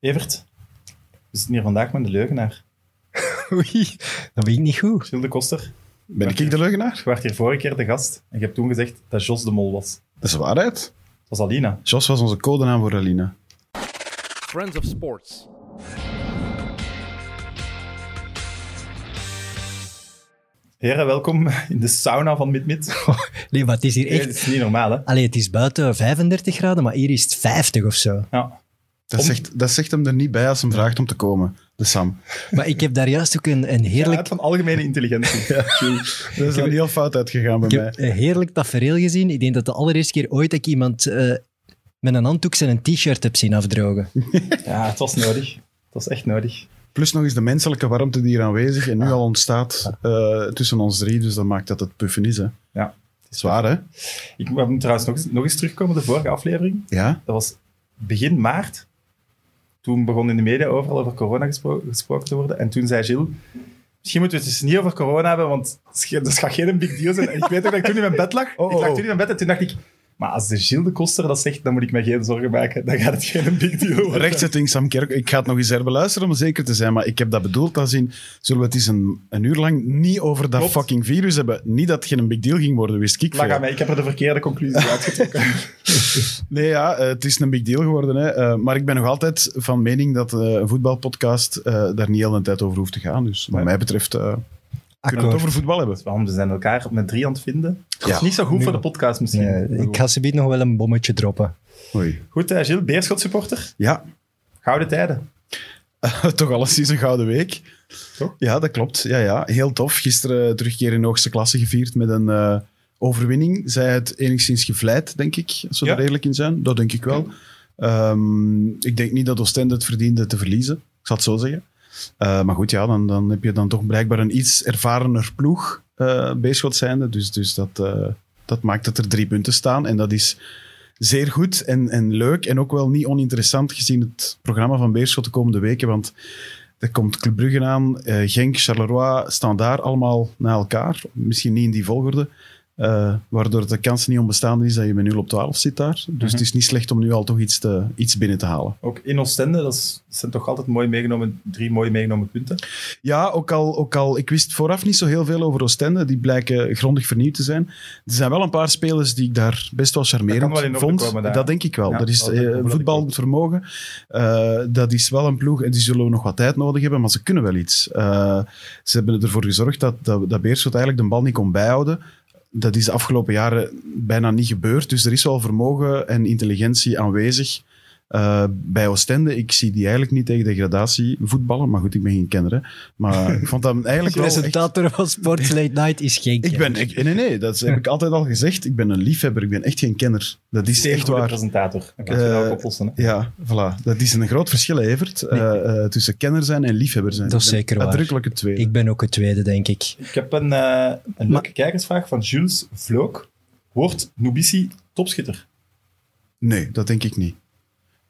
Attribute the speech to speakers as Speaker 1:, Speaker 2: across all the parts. Speaker 1: Evert, we zitten hier vandaag met de leugenaar.
Speaker 2: Oei, dat weet ik niet goed.
Speaker 1: Gilles de Koster,
Speaker 3: Ben ik de leugenaar?
Speaker 1: je werd hier vorige keer de gast en je hebt toen gezegd dat Jos de mol was.
Speaker 3: Dat is de waarheid.
Speaker 1: Dat was Alina.
Speaker 3: Jos was onze codenaam voor Alina.
Speaker 4: Friends of Sports.
Speaker 1: Heren, welkom in de sauna van Mid-Mid.
Speaker 2: Nee, maar het is hier
Speaker 1: Echt?
Speaker 2: echt...
Speaker 1: Het is niet normaal, hè?
Speaker 2: Allee, het is buiten 35 graden, maar hier is het 50 of zo.
Speaker 1: Ja.
Speaker 3: Dat
Speaker 1: Om-
Speaker 3: zegt, dat zegt hem er niet bij als hem vraagt om te komen. De Sam.
Speaker 2: Maar ik heb daar juist ook een, een heerlijk...
Speaker 1: Uit van algemene intelligentie.
Speaker 3: Dat is dan heel fout uitgegaan bij
Speaker 2: Ik
Speaker 3: mij.
Speaker 2: heb een heerlijk tafereel gezien. Ik denk dat de allereerste keer ooit dat ik iemand eh, met een handdoek zijn een t-shirt heb zien afdrogen.
Speaker 1: Ja, het was nodig. Het was echt nodig.
Speaker 3: Plus nog eens de menselijke warmte die hier aanwezig en nu al ontstaat eh, tussen ons drie. Dus dat maakt dat het puffen is. Hè.
Speaker 1: Ja.
Speaker 3: Het is waar, hè?
Speaker 1: Ik moet trouwens nog, eens- nog eens terugkomen op de vorige aflevering.
Speaker 3: Ja.
Speaker 1: Dat was begin maart. Toen begon in de media overal over corona gespro- gesproken te worden. En toen zei Gilles, misschien moeten we het dus niet over corona hebben, want het is- dat gaat geen big deal zijn. En ik weet ook dat ik toen in mijn bed lag.
Speaker 3: Oh,
Speaker 1: ik lag
Speaker 3: oh.
Speaker 1: toen in mijn bed en toen dacht ik, maar als de Gilles de Koster dat zegt, dan moet ik mij geen zorgen maken. Dan gaat het geen big deal worden.
Speaker 3: Rechtzetting Sam Kerk. Ik ga het nog eens herbeluisteren om zeker te zijn. Maar ik heb dat bedoeld als in... Zullen we het eens een, een uur lang niet over dat
Speaker 1: Klopt.
Speaker 3: fucking virus hebben? Niet dat het geen big deal ging worden, wist ik
Speaker 1: Lag
Speaker 3: veel.
Speaker 1: aan mij, ik heb er de verkeerde conclusie uitgetrokken.
Speaker 3: Nee, ja, eh, het is een big deal geworden. Hè. Eh, maar ik ben nog altijd van mening dat eh, een voetbalpodcast eh, daar niet heel de tijd over hoeft te gaan. Dus wat
Speaker 1: Nee.
Speaker 3: mij betreft eh, kunnen we het
Speaker 2: Akkoord.
Speaker 3: over voetbal hebben.
Speaker 1: Waarom Dus, we zijn elkaar met drie aan het vinden. Dat is
Speaker 3: Ja.
Speaker 1: niet zo goed
Speaker 2: Nu.
Speaker 1: voor de podcast misschien.
Speaker 2: Nee, ik ga ze nog wel een bommetje droppen.
Speaker 3: Oei.
Speaker 1: Goed, eh, Gilles, Beerschot supporter.
Speaker 3: Ja,
Speaker 1: Gouden tijden.
Speaker 3: toch alles is een gouden week.
Speaker 1: Toch?
Speaker 3: Ja, dat klopt. Ja, ja. Heel tof. Gisteren eh, terugkeer in de hoogste klasse gevierd met een eh, overwinning. Zij het enigszins gevleid, denk ik, als we
Speaker 1: Ja.
Speaker 3: daar eerlijk in zijn. Dat denk ik wel. Ehm, ik denk niet dat Oostende het verdiende te verliezen. Ik zal het zo zeggen. Eh, maar goed, ja, dan, dan heb je dan toch blijkbaar een iets ervarener ploeg eh Beerschot zijnde. Dus, dus dat, eh, dat maakt dat er drie punten staan. En dat is zeer goed en, en leuk. En ook wel niet oninteressant gezien het programma van Beerschot de komende weken. Want er komt Club Brugge aan, eh, Genk, Charleroi staan daar allemaal na elkaar. Misschien niet in die volgorde. eh, waardoor de kans niet onbestaande is dat je met 0 op 12 zit daar. Dus het is niet slecht om nu al toch iets, te, iets binnen te halen.
Speaker 1: Ook in Oostende, dat is- zijn toch altijd mooi meegenomen, drie mooi meegenomen punten.
Speaker 3: Ja, ook al, ook al, ik wist vooraf niet zo heel veel over Oostende. Die blijken grondig vernieuwd te zijn. Er zijn wel een paar spelers die ik daar best wel
Speaker 1: Dat
Speaker 3: charmerend
Speaker 1: kan wel in orde
Speaker 3: vond.
Speaker 1: komen daar.
Speaker 3: Dat denk ik wel.
Speaker 1: Ja,
Speaker 3: dat is
Speaker 1: dat denk ik
Speaker 3: eh,
Speaker 1: wel dat
Speaker 3: voetbal
Speaker 1: ik
Speaker 3: met vermogen. eh, dat is wel een ploeg en die zullen nog wat tijd nodig hebben, maar ze kunnen wel iets. Eh, ze hebben ervoor gezorgd dat, dat, dat Beerschot eigenlijk de bal niet kon bijhouden. Dat is de afgelopen jaren bijna niet gebeurd. Dus er is wel vermogen en intelligentie aanwezig. Eh, bij Oostende, ik zie die eigenlijk niet tegen degradatie voetballen. Maar goed, ik ben geen kenner. Hè. Maar ik vond dat eigenlijk wel echt-
Speaker 2: Presentator van Sports Late Night is geen
Speaker 3: Ik ben, ik- nee, nee, dat heb ik altijd al gezegd. Ik ben een liefhebber, ik ben echt geen kenner. Dat is
Speaker 1: Zeer
Speaker 3: echt
Speaker 1: goede
Speaker 3: waar.
Speaker 1: presentator. Dan kan je dat
Speaker 3: Eh,
Speaker 1: ook oplossen. hè.
Speaker 3: Ja, voilà. Dat is een groot verschil, hè, Evert. eh, eh, tussen kenner zijn en liefhebber zijn.
Speaker 2: Dat is
Speaker 3: Ik ben
Speaker 2: zeker waar.
Speaker 3: Uitdrukkelijk het tweede.
Speaker 2: Ik ben ook het tweede, denk ik.
Speaker 1: Ik heb een, eh, een leuke kijkersvraag van Jules Vlook. Wordt Nubissi topschitter?
Speaker 3: Nee, dat denk ik niet.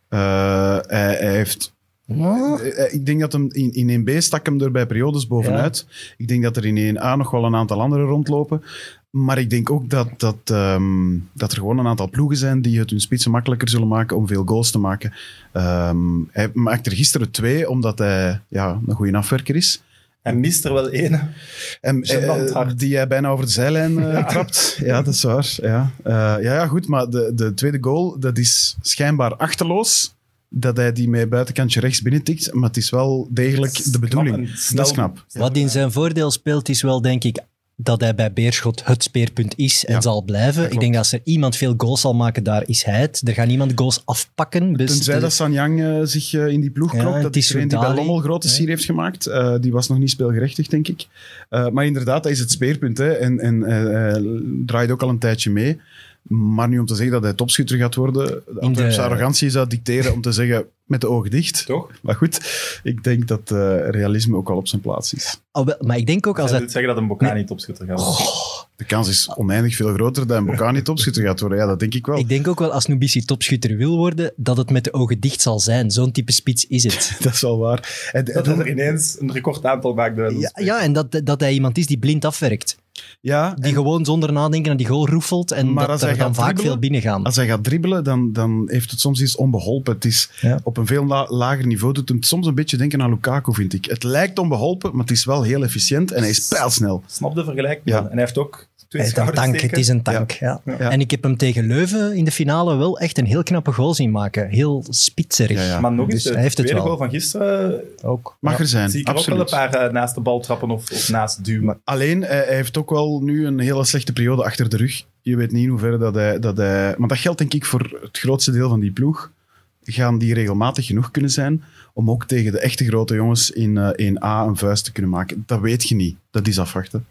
Speaker 3: Eh, hij, hij heeft... eh, eh, Ik denk dat hem in, in 1B stak hem er bij periodes bovenuit. Ik denk dat er in 1A nog wel een aantal anderen rondlopen. Maar ik denk ook dat, dat, ehm, dat er gewoon een aantal ploegen zijn die het hun spitsen makkelijker zullen maken om veel goals te maken. Ehm, hij maakt er gisteren twee, omdat hij ja, een goede afwerker is.
Speaker 1: En mist er wel één.
Speaker 3: En,
Speaker 1: Zijn land
Speaker 3: eh,
Speaker 1: hard.
Speaker 3: die hij bijna over de zijlijn eh, trapt. Ja, dat is waar. Ja, Eh, ja, ja goed. Maar de, de tweede goal, dat is schijnbaar achterloos. Dat hij die met buitenkantje rechts binnentikt. Maar het is wel degelijk
Speaker 1: Dat is
Speaker 3: de bedoeling.
Speaker 1: knap en snel.
Speaker 3: dat is knap.
Speaker 2: Wat in zijn voordeel speelt, is wel, denk ik, dat hij bij Beerschot het speerpunt is en
Speaker 3: Ja,
Speaker 2: zal blijven. Ik denk dat als er iemand veel goals zal maken, daar is hij het. Er gaat niemand goals afpakken. Dus
Speaker 3: Tenzij
Speaker 2: de-
Speaker 3: dat Sanyang eh, zich eh, in die ploeg
Speaker 2: Ja,
Speaker 3: klopt. Dat is
Speaker 2: Tissot
Speaker 3: iedereen die bij
Speaker 2: Dali.
Speaker 3: Lommel grote
Speaker 2: Nee.
Speaker 3: sier heeft gemaakt. Eh, die was nog niet speelgerechtig, denk ik. Eh, maar inderdaad, dat is het speerpunt. Hè. En, en eh, eh, draait ook al een tijdje mee. Maar nu om te zeggen dat hij topschutter gaat worden, de Antwerpse arrogantie zou dicteren om te zeggen met de ogen dicht.
Speaker 1: Toch?
Speaker 3: Maar goed, ik denk dat eh, realisme ook al op zijn plaats is.
Speaker 2: Ah, wel, maar ik denk ook als
Speaker 1: Zij
Speaker 2: hij
Speaker 1: wil zeggen dat een Bocani topschutter
Speaker 3: Oh,
Speaker 1: gaat worden.
Speaker 3: De kans is oneindig veel groter dat Mbokani topschutter gaat worden. Ja, dat denk ik wel.
Speaker 2: Ik denk ook wel als Nubissi topschutter wil worden, dat het met de ogen dicht zal zijn. Zo'n type spits is het.
Speaker 3: Dat is wel waar. En, en
Speaker 1: Dat
Speaker 3: dan-
Speaker 1: hij er ineens een record aantal maakt. bij wijze van
Speaker 2: Ja,
Speaker 1: spreken.
Speaker 2: ja en dat, dat hij iemand is die blind afwerkt.
Speaker 3: Ja,
Speaker 2: Die gewoon zonder nadenken aan die goal roefelt en
Speaker 3: Maar
Speaker 2: dat
Speaker 3: als
Speaker 2: er
Speaker 3: hij
Speaker 2: dan
Speaker 3: gaat
Speaker 2: vaak
Speaker 3: dribbelen-
Speaker 2: veel binnengaan.
Speaker 3: Als hij gaat dribbelen, dan, dan heeft het soms iets onbeholpen. Het is
Speaker 2: Ja.
Speaker 3: op een veel la- lager niveau. Doet hem soms een beetje denken aan Lukaku, vind ik. Het lijkt onbeholpen, maar het is wel heel efficiënt en hij is pijlsnel.
Speaker 1: Snap de vergelijking.
Speaker 3: Ja.
Speaker 1: En hij heeft ook twee
Speaker 2: Hij is een tank, het
Speaker 1: schoudersteken.
Speaker 2: is een tank. Ja.
Speaker 1: Ja.
Speaker 3: Ja.
Speaker 2: En ik heb hem tegen Leuven in de finale wel echt een heel knappe goal zien maken. Heel spitserig.
Speaker 3: Ja, ja.
Speaker 1: Maar nog eens,
Speaker 2: Dus
Speaker 1: de
Speaker 2: hij heeft het
Speaker 1: tweede
Speaker 2: wel.
Speaker 1: goal van gisteren
Speaker 2: Ook.
Speaker 3: Mag er
Speaker 1: eh,
Speaker 3: zijn,
Speaker 1: zie ik er ook wel een
Speaker 3: absoluut.
Speaker 1: paar eh, naast de bal trappen of, of naast duwen.
Speaker 3: Alleen, eh, hij hij heeft ook wel nu een hele slechte periode achter de rug. Je weet niet in hoeverre dat hij, dat hij... Maar dat geldt denk ik voor het grootste deel van die ploeg. Gaan die regelmatig genoeg kunnen zijn om ook tegen de echte grote jongens in, eh, in A een vuist te kunnen maken? Dat weet je niet. Dat is afwachten.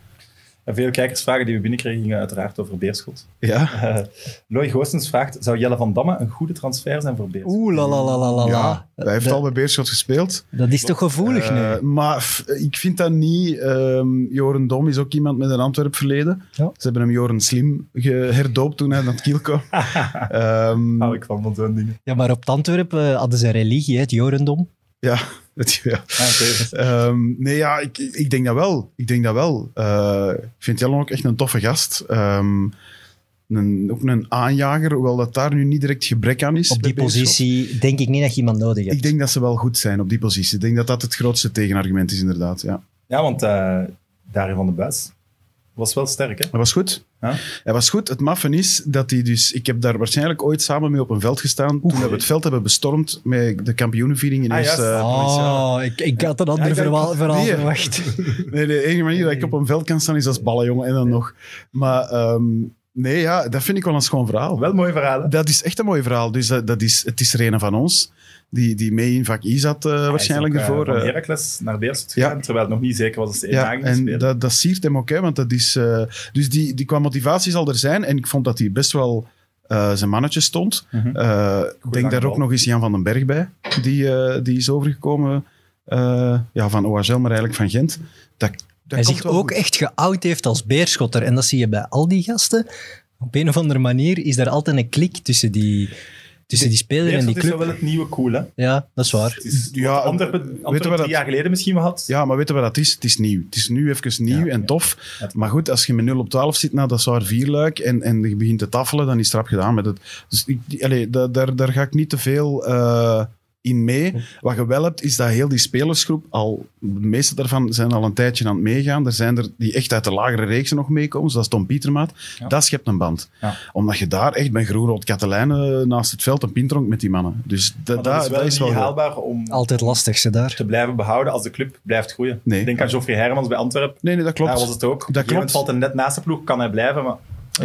Speaker 1: En veel kijkersvragen die we binnenkregen gingen uiteraard over Beerschot.
Speaker 3: Ja.
Speaker 1: Eh Loy Goossens vraagt, zou Jelle van Damme een goede transfer zijn voor Beerschot?
Speaker 2: Oeh, la la la la la.
Speaker 3: ja.
Speaker 2: la.
Speaker 3: Hij heeft
Speaker 2: dat,
Speaker 3: al bij Beerschot gespeeld.
Speaker 2: dat is toch gevoelig
Speaker 3: Eh,
Speaker 2: nu?
Speaker 3: Maar f- ik vind dat niet. Ehm, Joren Dom is ook iemand met een Antwerp verleden.
Speaker 2: Ja.
Speaker 3: Ze hebben hem Joren Slim ge- herdoopt toen hij naar het kiel kwam. Ehm,
Speaker 2: Oh,
Speaker 1: Nou, ik kwam van zo'n dingen.
Speaker 2: Ja, maar op het Antwerpen eh, hadden ze een religie, hè, het Jorendom.
Speaker 3: ja, het- ja.
Speaker 1: Ah, oké.
Speaker 3: Ehm, nee, ja, ik, ik denk dat wel. Ik denk dat wel. Eh, ik vind Jellon ook echt een toffe gast. Ehm, een, ook een aanjager, hoewel dat daar nu niet direct gebrek aan is.
Speaker 2: Op die
Speaker 3: bij Beerschot.
Speaker 2: positie denk ik niet dat je iemand nodig hebt.
Speaker 3: Ik denk dat ze wel goed zijn op die positie. Ik denk dat dat het grootste tegenargument is, inderdaad. Ja.
Speaker 1: Ja, want eh Darien van de Buis was wel sterk, hè?
Speaker 3: Hij was goed.
Speaker 1: Ja.
Speaker 3: Hij was goed. Het maffen is dat hij dus... Ik heb daar waarschijnlijk ooit samen mee op een veld gestaan. Toen we het veld hebben bestormd met de kampioenenviering in
Speaker 1: Ah,
Speaker 3: eerste...
Speaker 1: juist.
Speaker 2: Oh, ik, ik had een ander
Speaker 1: ik denk-
Speaker 2: verhaal, verhaal
Speaker 3: Nee.
Speaker 2: verwacht.
Speaker 3: Nee, de enige manier dat ik op een veld kan staan is als ballenjongen en dan nog. Maar ehm, nee, ja, dat vind ik wel een schoon verhaal.
Speaker 1: Wel mooi verhaal, hè?
Speaker 3: Dat is echt een mooi verhaal. Dus dat, dat is, het is er een van ons die, die mee in vak I zat eh, waarschijnlijk
Speaker 1: Hij is ook, eh,
Speaker 3: ervoor.
Speaker 1: van
Speaker 3: eh.
Speaker 1: Heracles naar Beerschot
Speaker 3: Ja.
Speaker 1: gegaan, terwijl het nog niet zeker was als ze één
Speaker 3: Ja,
Speaker 1: dagen ging
Speaker 3: en
Speaker 1: spelen.
Speaker 3: dat, dat siert hem ook, hè, want dat is... eh, dus die, die qua motivatie zal er zijn. En ik vond dat hij best wel eh, zijn mannetje stond.
Speaker 1: Mhm.
Speaker 3: Eh, Ik denk
Speaker 1: lange
Speaker 3: daar
Speaker 1: bal.
Speaker 3: ook nog eens Jan van den Berg bij. Die, eh, die is overgekomen eh, ja, van OHL, maar eigenlijk van Gent. Dat, dat
Speaker 2: Hij
Speaker 3: komt
Speaker 2: zich
Speaker 3: wel
Speaker 2: ook
Speaker 3: goed.
Speaker 2: echt geout heeft als beerschotter. En dat zie je bij al die gasten. Op een of andere manier is daar altijd een klik tussen die, tussen die speler en
Speaker 1: Beerschot
Speaker 2: die
Speaker 1: is
Speaker 2: club.
Speaker 1: wel het nieuwe cool, hè?
Speaker 2: Ja, dat is waar.
Speaker 1: Het is
Speaker 3: Ja,
Speaker 1: ja, Antwerpen,
Speaker 3: weten we
Speaker 1: Antwerpen
Speaker 3: dat-
Speaker 1: drie jaar geleden misschien wel had.
Speaker 3: Ja, maar weten we wat dat is? Het is nieuw. Het is nu even nieuw en tof. Maar goed, als je met 0 op 12 zit na dat zwaar vierluik en, en je begint te tafelen, dan is het rap gedaan met het. Dus ik, die- allee, da- daar, daar ga ik niet te veel eh, in mee. Wat je wel hebt, is dat heel die spelersgroep al, de meeste daarvan zijn al een tijdje aan het meegaan. Er zijn er die echt uit de lagere reeksen nog meekomen, zoals Tom Pietermaat.
Speaker 1: Ja.
Speaker 3: Dat schept een band.
Speaker 1: Ja.
Speaker 3: Omdat je daar echt bij Groenrood Katelijnen naast het veld een pintronk met die mannen. Dus da-
Speaker 1: Maar dat, is wel niet
Speaker 3: goed.
Speaker 1: haalbaar om
Speaker 2: Altijd lastig, ze daar.
Speaker 1: te blijven behouden als de club blijft groeien.
Speaker 3: Nee.
Speaker 1: Denk aan Geoffrey Hermans bij Antwerpen.
Speaker 3: Nee, nee, dat klopt.
Speaker 1: Daar was het ook. Op een gegeven moment
Speaker 3: klopt.
Speaker 1: valt hij net naast de ploeg, kan hij blijven. Maar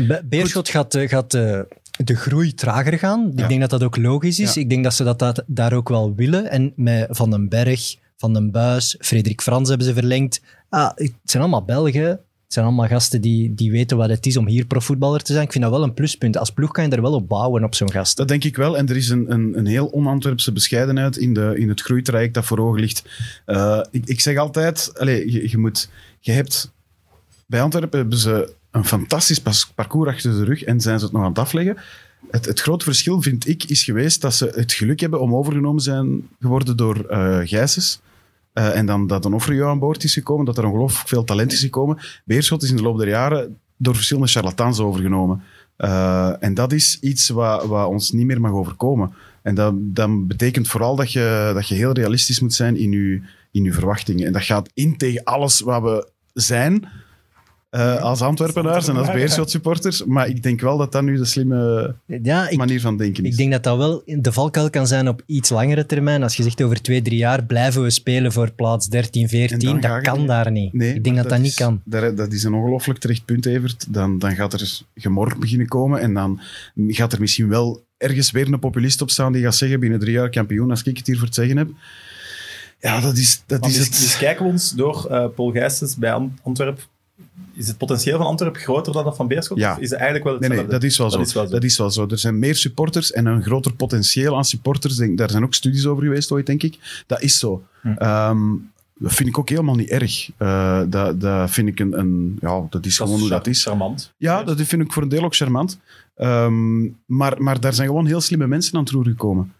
Speaker 2: Be- Beerschot gaat, eh, gaat eh, de groei trager gaan. Ik
Speaker 3: Ja.
Speaker 2: denk dat dat ook logisch is.
Speaker 3: Ja.
Speaker 2: Ik denk dat ze dat, dat daar ook wel willen. En met Van den Berg, Van den Buis, Frederik Frans hebben ze verlengd. Ah, het zijn allemaal Belgen. Het zijn allemaal gasten die, die weten wat het is om hier profvoetballer te zijn. Ik vind dat wel een pluspunt. Als ploeg kan je er wel op bouwen op zo'n gast.
Speaker 3: Dat denk ik wel. En er is een, een, een heel on-Antwerpse bescheidenheid in, de, in het groeitraject dat voor ogen ligt. Eh, ik, ik zeg altijd, allez, je, je, moet, je hebt... Bij Antwerpen hebben ze een fantastisch pas- parcours achter de rug en zijn ze het nog aan het afleggen. Het, het grote verschil, vind ik, is geweest dat ze het geluk hebben om overgenomen zijn geworden door eh Gijsens. Eh, en dan dat een offerjouw aan boord is gekomen, dat er ongelooflijk veel talent is gekomen. Beerschot is in de loop der jaren door verschillende charlatans overgenomen. Eh, en dat is iets wat, wat ons niet meer mag overkomen. En dat, dat betekent vooral dat je, dat je heel realistisch moet zijn in je, in je verwachtingen. En dat gaat in tegen alles wat we zijn eh, als Antwerpenaars en als Beerschot-supporters. Maar ik denk wel dat dat nu de slimme
Speaker 2: Ja, ik,
Speaker 3: manier van denken is.
Speaker 2: ik denk dat dat wel de valkuil kan zijn op iets langere termijn. Als je zegt over twee, drie jaar blijven we spelen voor plaats 13, 14.
Speaker 3: En dan ga
Speaker 2: Dat
Speaker 3: je-
Speaker 2: kan daar niet.
Speaker 3: Nee,
Speaker 2: ik denk dat dat, niet
Speaker 3: is-
Speaker 2: kan.
Speaker 3: daar- dat is een ongelooflijk terecht punt, Evert. Dan, dan gaat er gemorg beginnen komen en dan gaat er misschien wel ergens weer een populist op staan die gaat zeggen binnen drie jaar kampioen, als ik het hier voor het zeggen heb. Ja, dat is, dat
Speaker 1: Maar
Speaker 3: is
Speaker 1: mis,
Speaker 3: het.
Speaker 1: miskijken we ons door eh, Paul Gijsens bij An- Antwerpen. Is het potentieel van Antwerpen groter dan dat van Beerschot?
Speaker 3: Ja.
Speaker 1: Of is het eigenlijk wel
Speaker 3: Nee,
Speaker 1: hetzelfde?
Speaker 3: nee, dat is wel zo.
Speaker 1: Dat is wel zo.
Speaker 3: Dat is wel zo. Er zijn meer supporters en een groter potentieel aan supporters. Denk, daar zijn ook studies over geweest ooit, denk ik. Dat is zo. Ehm, dat vind ik ook helemaal niet erg. Eh, dat, dat vind ik een... een ja, dat is gewoon hoe dat
Speaker 1: char-
Speaker 3: is.
Speaker 1: Charmant.
Speaker 3: Ja, dat vind ik voor een deel ook charmant. Ehm, maar, maar daar zijn gewoon heel slimme mensen aan het roer gekomen.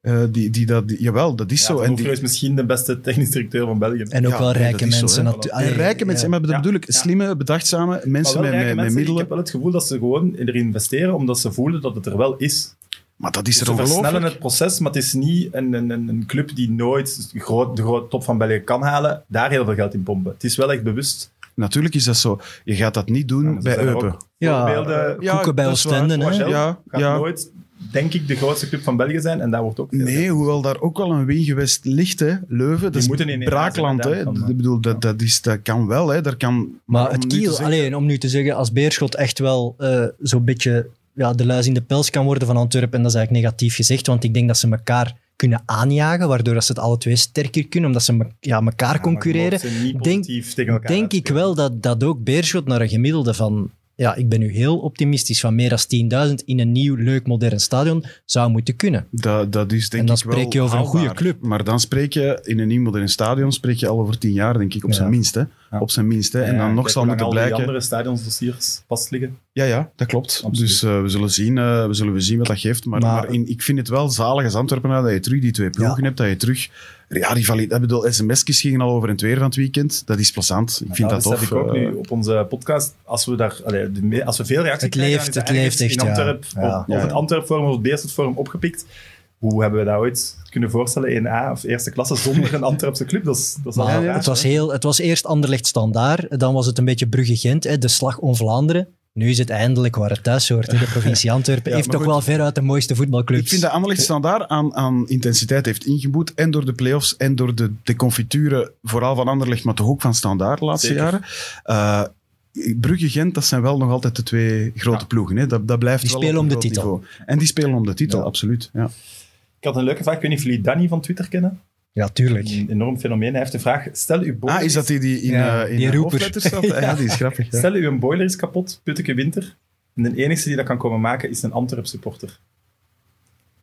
Speaker 3: eh, die, die dat, die- jawel, dat is
Speaker 1: Ja,
Speaker 3: zo.
Speaker 1: Ten
Speaker 3: En
Speaker 1: Hoof
Speaker 3: die,
Speaker 1: is misschien de beste technisch directeur van België.
Speaker 2: En ook
Speaker 3: Ja,
Speaker 2: wel
Speaker 3: nee,
Speaker 2: rijke
Speaker 3: dat is zo,
Speaker 2: mensen.
Speaker 1: hè.
Speaker 2: natu-
Speaker 1: En
Speaker 3: en
Speaker 2: Allee,
Speaker 3: rijke mensen,
Speaker 2: ja.
Speaker 3: maar dat
Speaker 1: Ja.
Speaker 3: bedoel ik, slimme, bedachtzame
Speaker 1: Maar
Speaker 3: mensen
Speaker 1: wel
Speaker 3: met,
Speaker 1: rijke
Speaker 3: met, met
Speaker 1: mensen, Ik
Speaker 3: middelen.
Speaker 1: heb wel het gevoel dat ze gewoon erin investeren, omdat ze voelen dat het er wel is.
Speaker 3: Maar dat is er
Speaker 1: Ze versnellen
Speaker 3: ongelooflijk.
Speaker 1: het proces, maar het is niet een, een, een, een club die nooit de groot, de groot top van België kan halen, daar heel veel geld in pompen. Het is wel echt bewust.
Speaker 3: Natuurlijk is dat zo. Je gaat dat niet doen
Speaker 1: Ja, maar ze
Speaker 3: bij
Speaker 1: zijn er
Speaker 3: Eupen.
Speaker 1: ook
Speaker 2: Ja,
Speaker 1: voorbeelden.
Speaker 3: Ja,
Speaker 2: koeken bij
Speaker 3: dat is waar.
Speaker 2: Oostende. hè.
Speaker 1: Oagel
Speaker 3: Ja,
Speaker 1: gaat
Speaker 3: ja.
Speaker 1: nooit, denk ik, de grootste club van België zijn. En daar wordt ook...
Speaker 3: Nee, hoewel daar ook wel een win geweest ligt, hè. Leuven, dat is
Speaker 1: moeten in Nederland
Speaker 3: braakland, hè.
Speaker 1: zijn, dan,
Speaker 3: Ik
Speaker 1: hè.
Speaker 3: bedoel, dat, dat, is, dat kan wel, hè. Daar kan,
Speaker 2: Maar
Speaker 3: om
Speaker 2: het
Speaker 3: nu te
Speaker 2: kiel,
Speaker 3: zeggen-
Speaker 2: alleen om nu te zeggen, als Beerschot echt wel eh, zo'n beetje ja, de luis in de pels kan worden van Antwerpen, en dat is eigenlijk negatief gezegd, want ik denk dat ze elkaar kunnen aanjagen, waardoor dat ze het alle twee sterker kunnen, omdat ze me- ja, elkaar
Speaker 1: Ja, maar
Speaker 2: concurreren.
Speaker 1: ze mogen ze niet
Speaker 2: Denk-
Speaker 1: positief tegen elkaar
Speaker 2: Denk ik
Speaker 1: uitspelen.
Speaker 2: wel dat, dat ook Beerschot naar een gemiddelde van, ja, ik ben nu heel optimistisch, van meer dan 10.000 in een nieuw, leuk, modern stadion zou moeten kunnen.
Speaker 3: Dat, dat is denk
Speaker 2: En dan
Speaker 3: ik wel
Speaker 2: spreek je over een goede
Speaker 3: haalbaar.
Speaker 2: club.
Speaker 3: Maar dan spreek je in een iemand in een stadion spreek je al over tien jaar, denk ik, op
Speaker 2: Ja.
Speaker 3: zijn minst. Hè.
Speaker 1: Ja.
Speaker 3: Op zijn minst. Hè.
Speaker 1: Ja,
Speaker 3: en dan
Speaker 1: ja,
Speaker 3: nog
Speaker 1: kijk
Speaker 3: zal
Speaker 1: hoe lang
Speaker 3: moeten
Speaker 1: al
Speaker 3: blijken.
Speaker 1: die andere stadionsdossiers vast liggen.
Speaker 3: Ja, ja, dat klopt.
Speaker 1: Absoluut.
Speaker 3: Dus eh, we, zullen zien, eh, we zullen we zien wat dat geeft. Maar, maar,
Speaker 2: Maar-
Speaker 3: in, ik vind het wel zalig als Antwerpenaar dat je terug die twee ploegen
Speaker 2: Ja.
Speaker 3: hebt. Dat je terug... Ja, die valide, ik bedoel, sms'jes gingen al over en het weer van het weekend. Dat is plezant. Ik
Speaker 1: Ja,
Speaker 3: vind dat
Speaker 1: dat
Speaker 3: tof.
Speaker 1: heb ik ook
Speaker 3: eh,
Speaker 1: nu op onze podcast. Als we, daar, allee, de me- als we veel reacties
Speaker 2: Het
Speaker 1: krijgen,
Speaker 2: leeft,
Speaker 1: dan is
Speaker 2: het
Speaker 1: ergens
Speaker 2: leeft echt,
Speaker 1: In
Speaker 2: ja.
Speaker 1: Antwerp,
Speaker 2: Ja.
Speaker 1: Of, of
Speaker 3: Ja.
Speaker 1: het Antwerp-vorm of het Beerschot-vorm opgepikt. Hoe hebben we dat ooit kunnen voorstellen? 1A of eerste klasse zonder een Antwerpse club? Dat is, dat is
Speaker 2: Maar
Speaker 1: al raar,
Speaker 2: het, was
Speaker 1: hè?
Speaker 2: heel, het was eerst Anderlecht standaard, dan was het een beetje Brugge-Gent, hè, de slag om Vlaanderen. Nu is het eindelijk waar het thuis hoort. hè. De provincie Antwerpen
Speaker 3: Ja,
Speaker 2: heeft
Speaker 3: maar
Speaker 2: toch
Speaker 3: goed.
Speaker 2: wel veruit de mooiste voetbalclubs.
Speaker 3: Ik vind dat Anderlecht standaard aan, aan intensiteit heeft ingeboet. En door de play-offs en door de, de confituren, vooral van Anderlecht, maar toch ook van standaard de laatste
Speaker 1: Zeker.
Speaker 3: jaren. Eh, Brugge-Gent, dat zijn wel nog altijd de twee grote
Speaker 1: Ja.
Speaker 3: ploegen. Hè. Dat, dat blijft
Speaker 2: Die
Speaker 3: wel
Speaker 2: spelen
Speaker 3: op een
Speaker 2: om de
Speaker 3: groot
Speaker 2: titel.
Speaker 3: niveau. En die spelen om de titel,
Speaker 2: Ja.
Speaker 3: absoluut. Ja.
Speaker 1: Ik had een leuke vraag. Ik weet niet of jullie Danny van Twitter kennen.
Speaker 2: Ja, tuurlijk.
Speaker 1: Een enorm fenomeen. Hij heeft de vraag, stel uw boiler,
Speaker 3: Ah, is dat die die in,
Speaker 2: Ja,
Speaker 3: eh, in
Speaker 2: die
Speaker 3: de
Speaker 2: roeper.
Speaker 3: hoofdletters staat? ja. die is grappig.
Speaker 1: is,
Speaker 3: Ja.
Speaker 1: stel uw boiler is kapot, putteke winter. En de enige die dat kan komen maken is een Antwerp-supporter.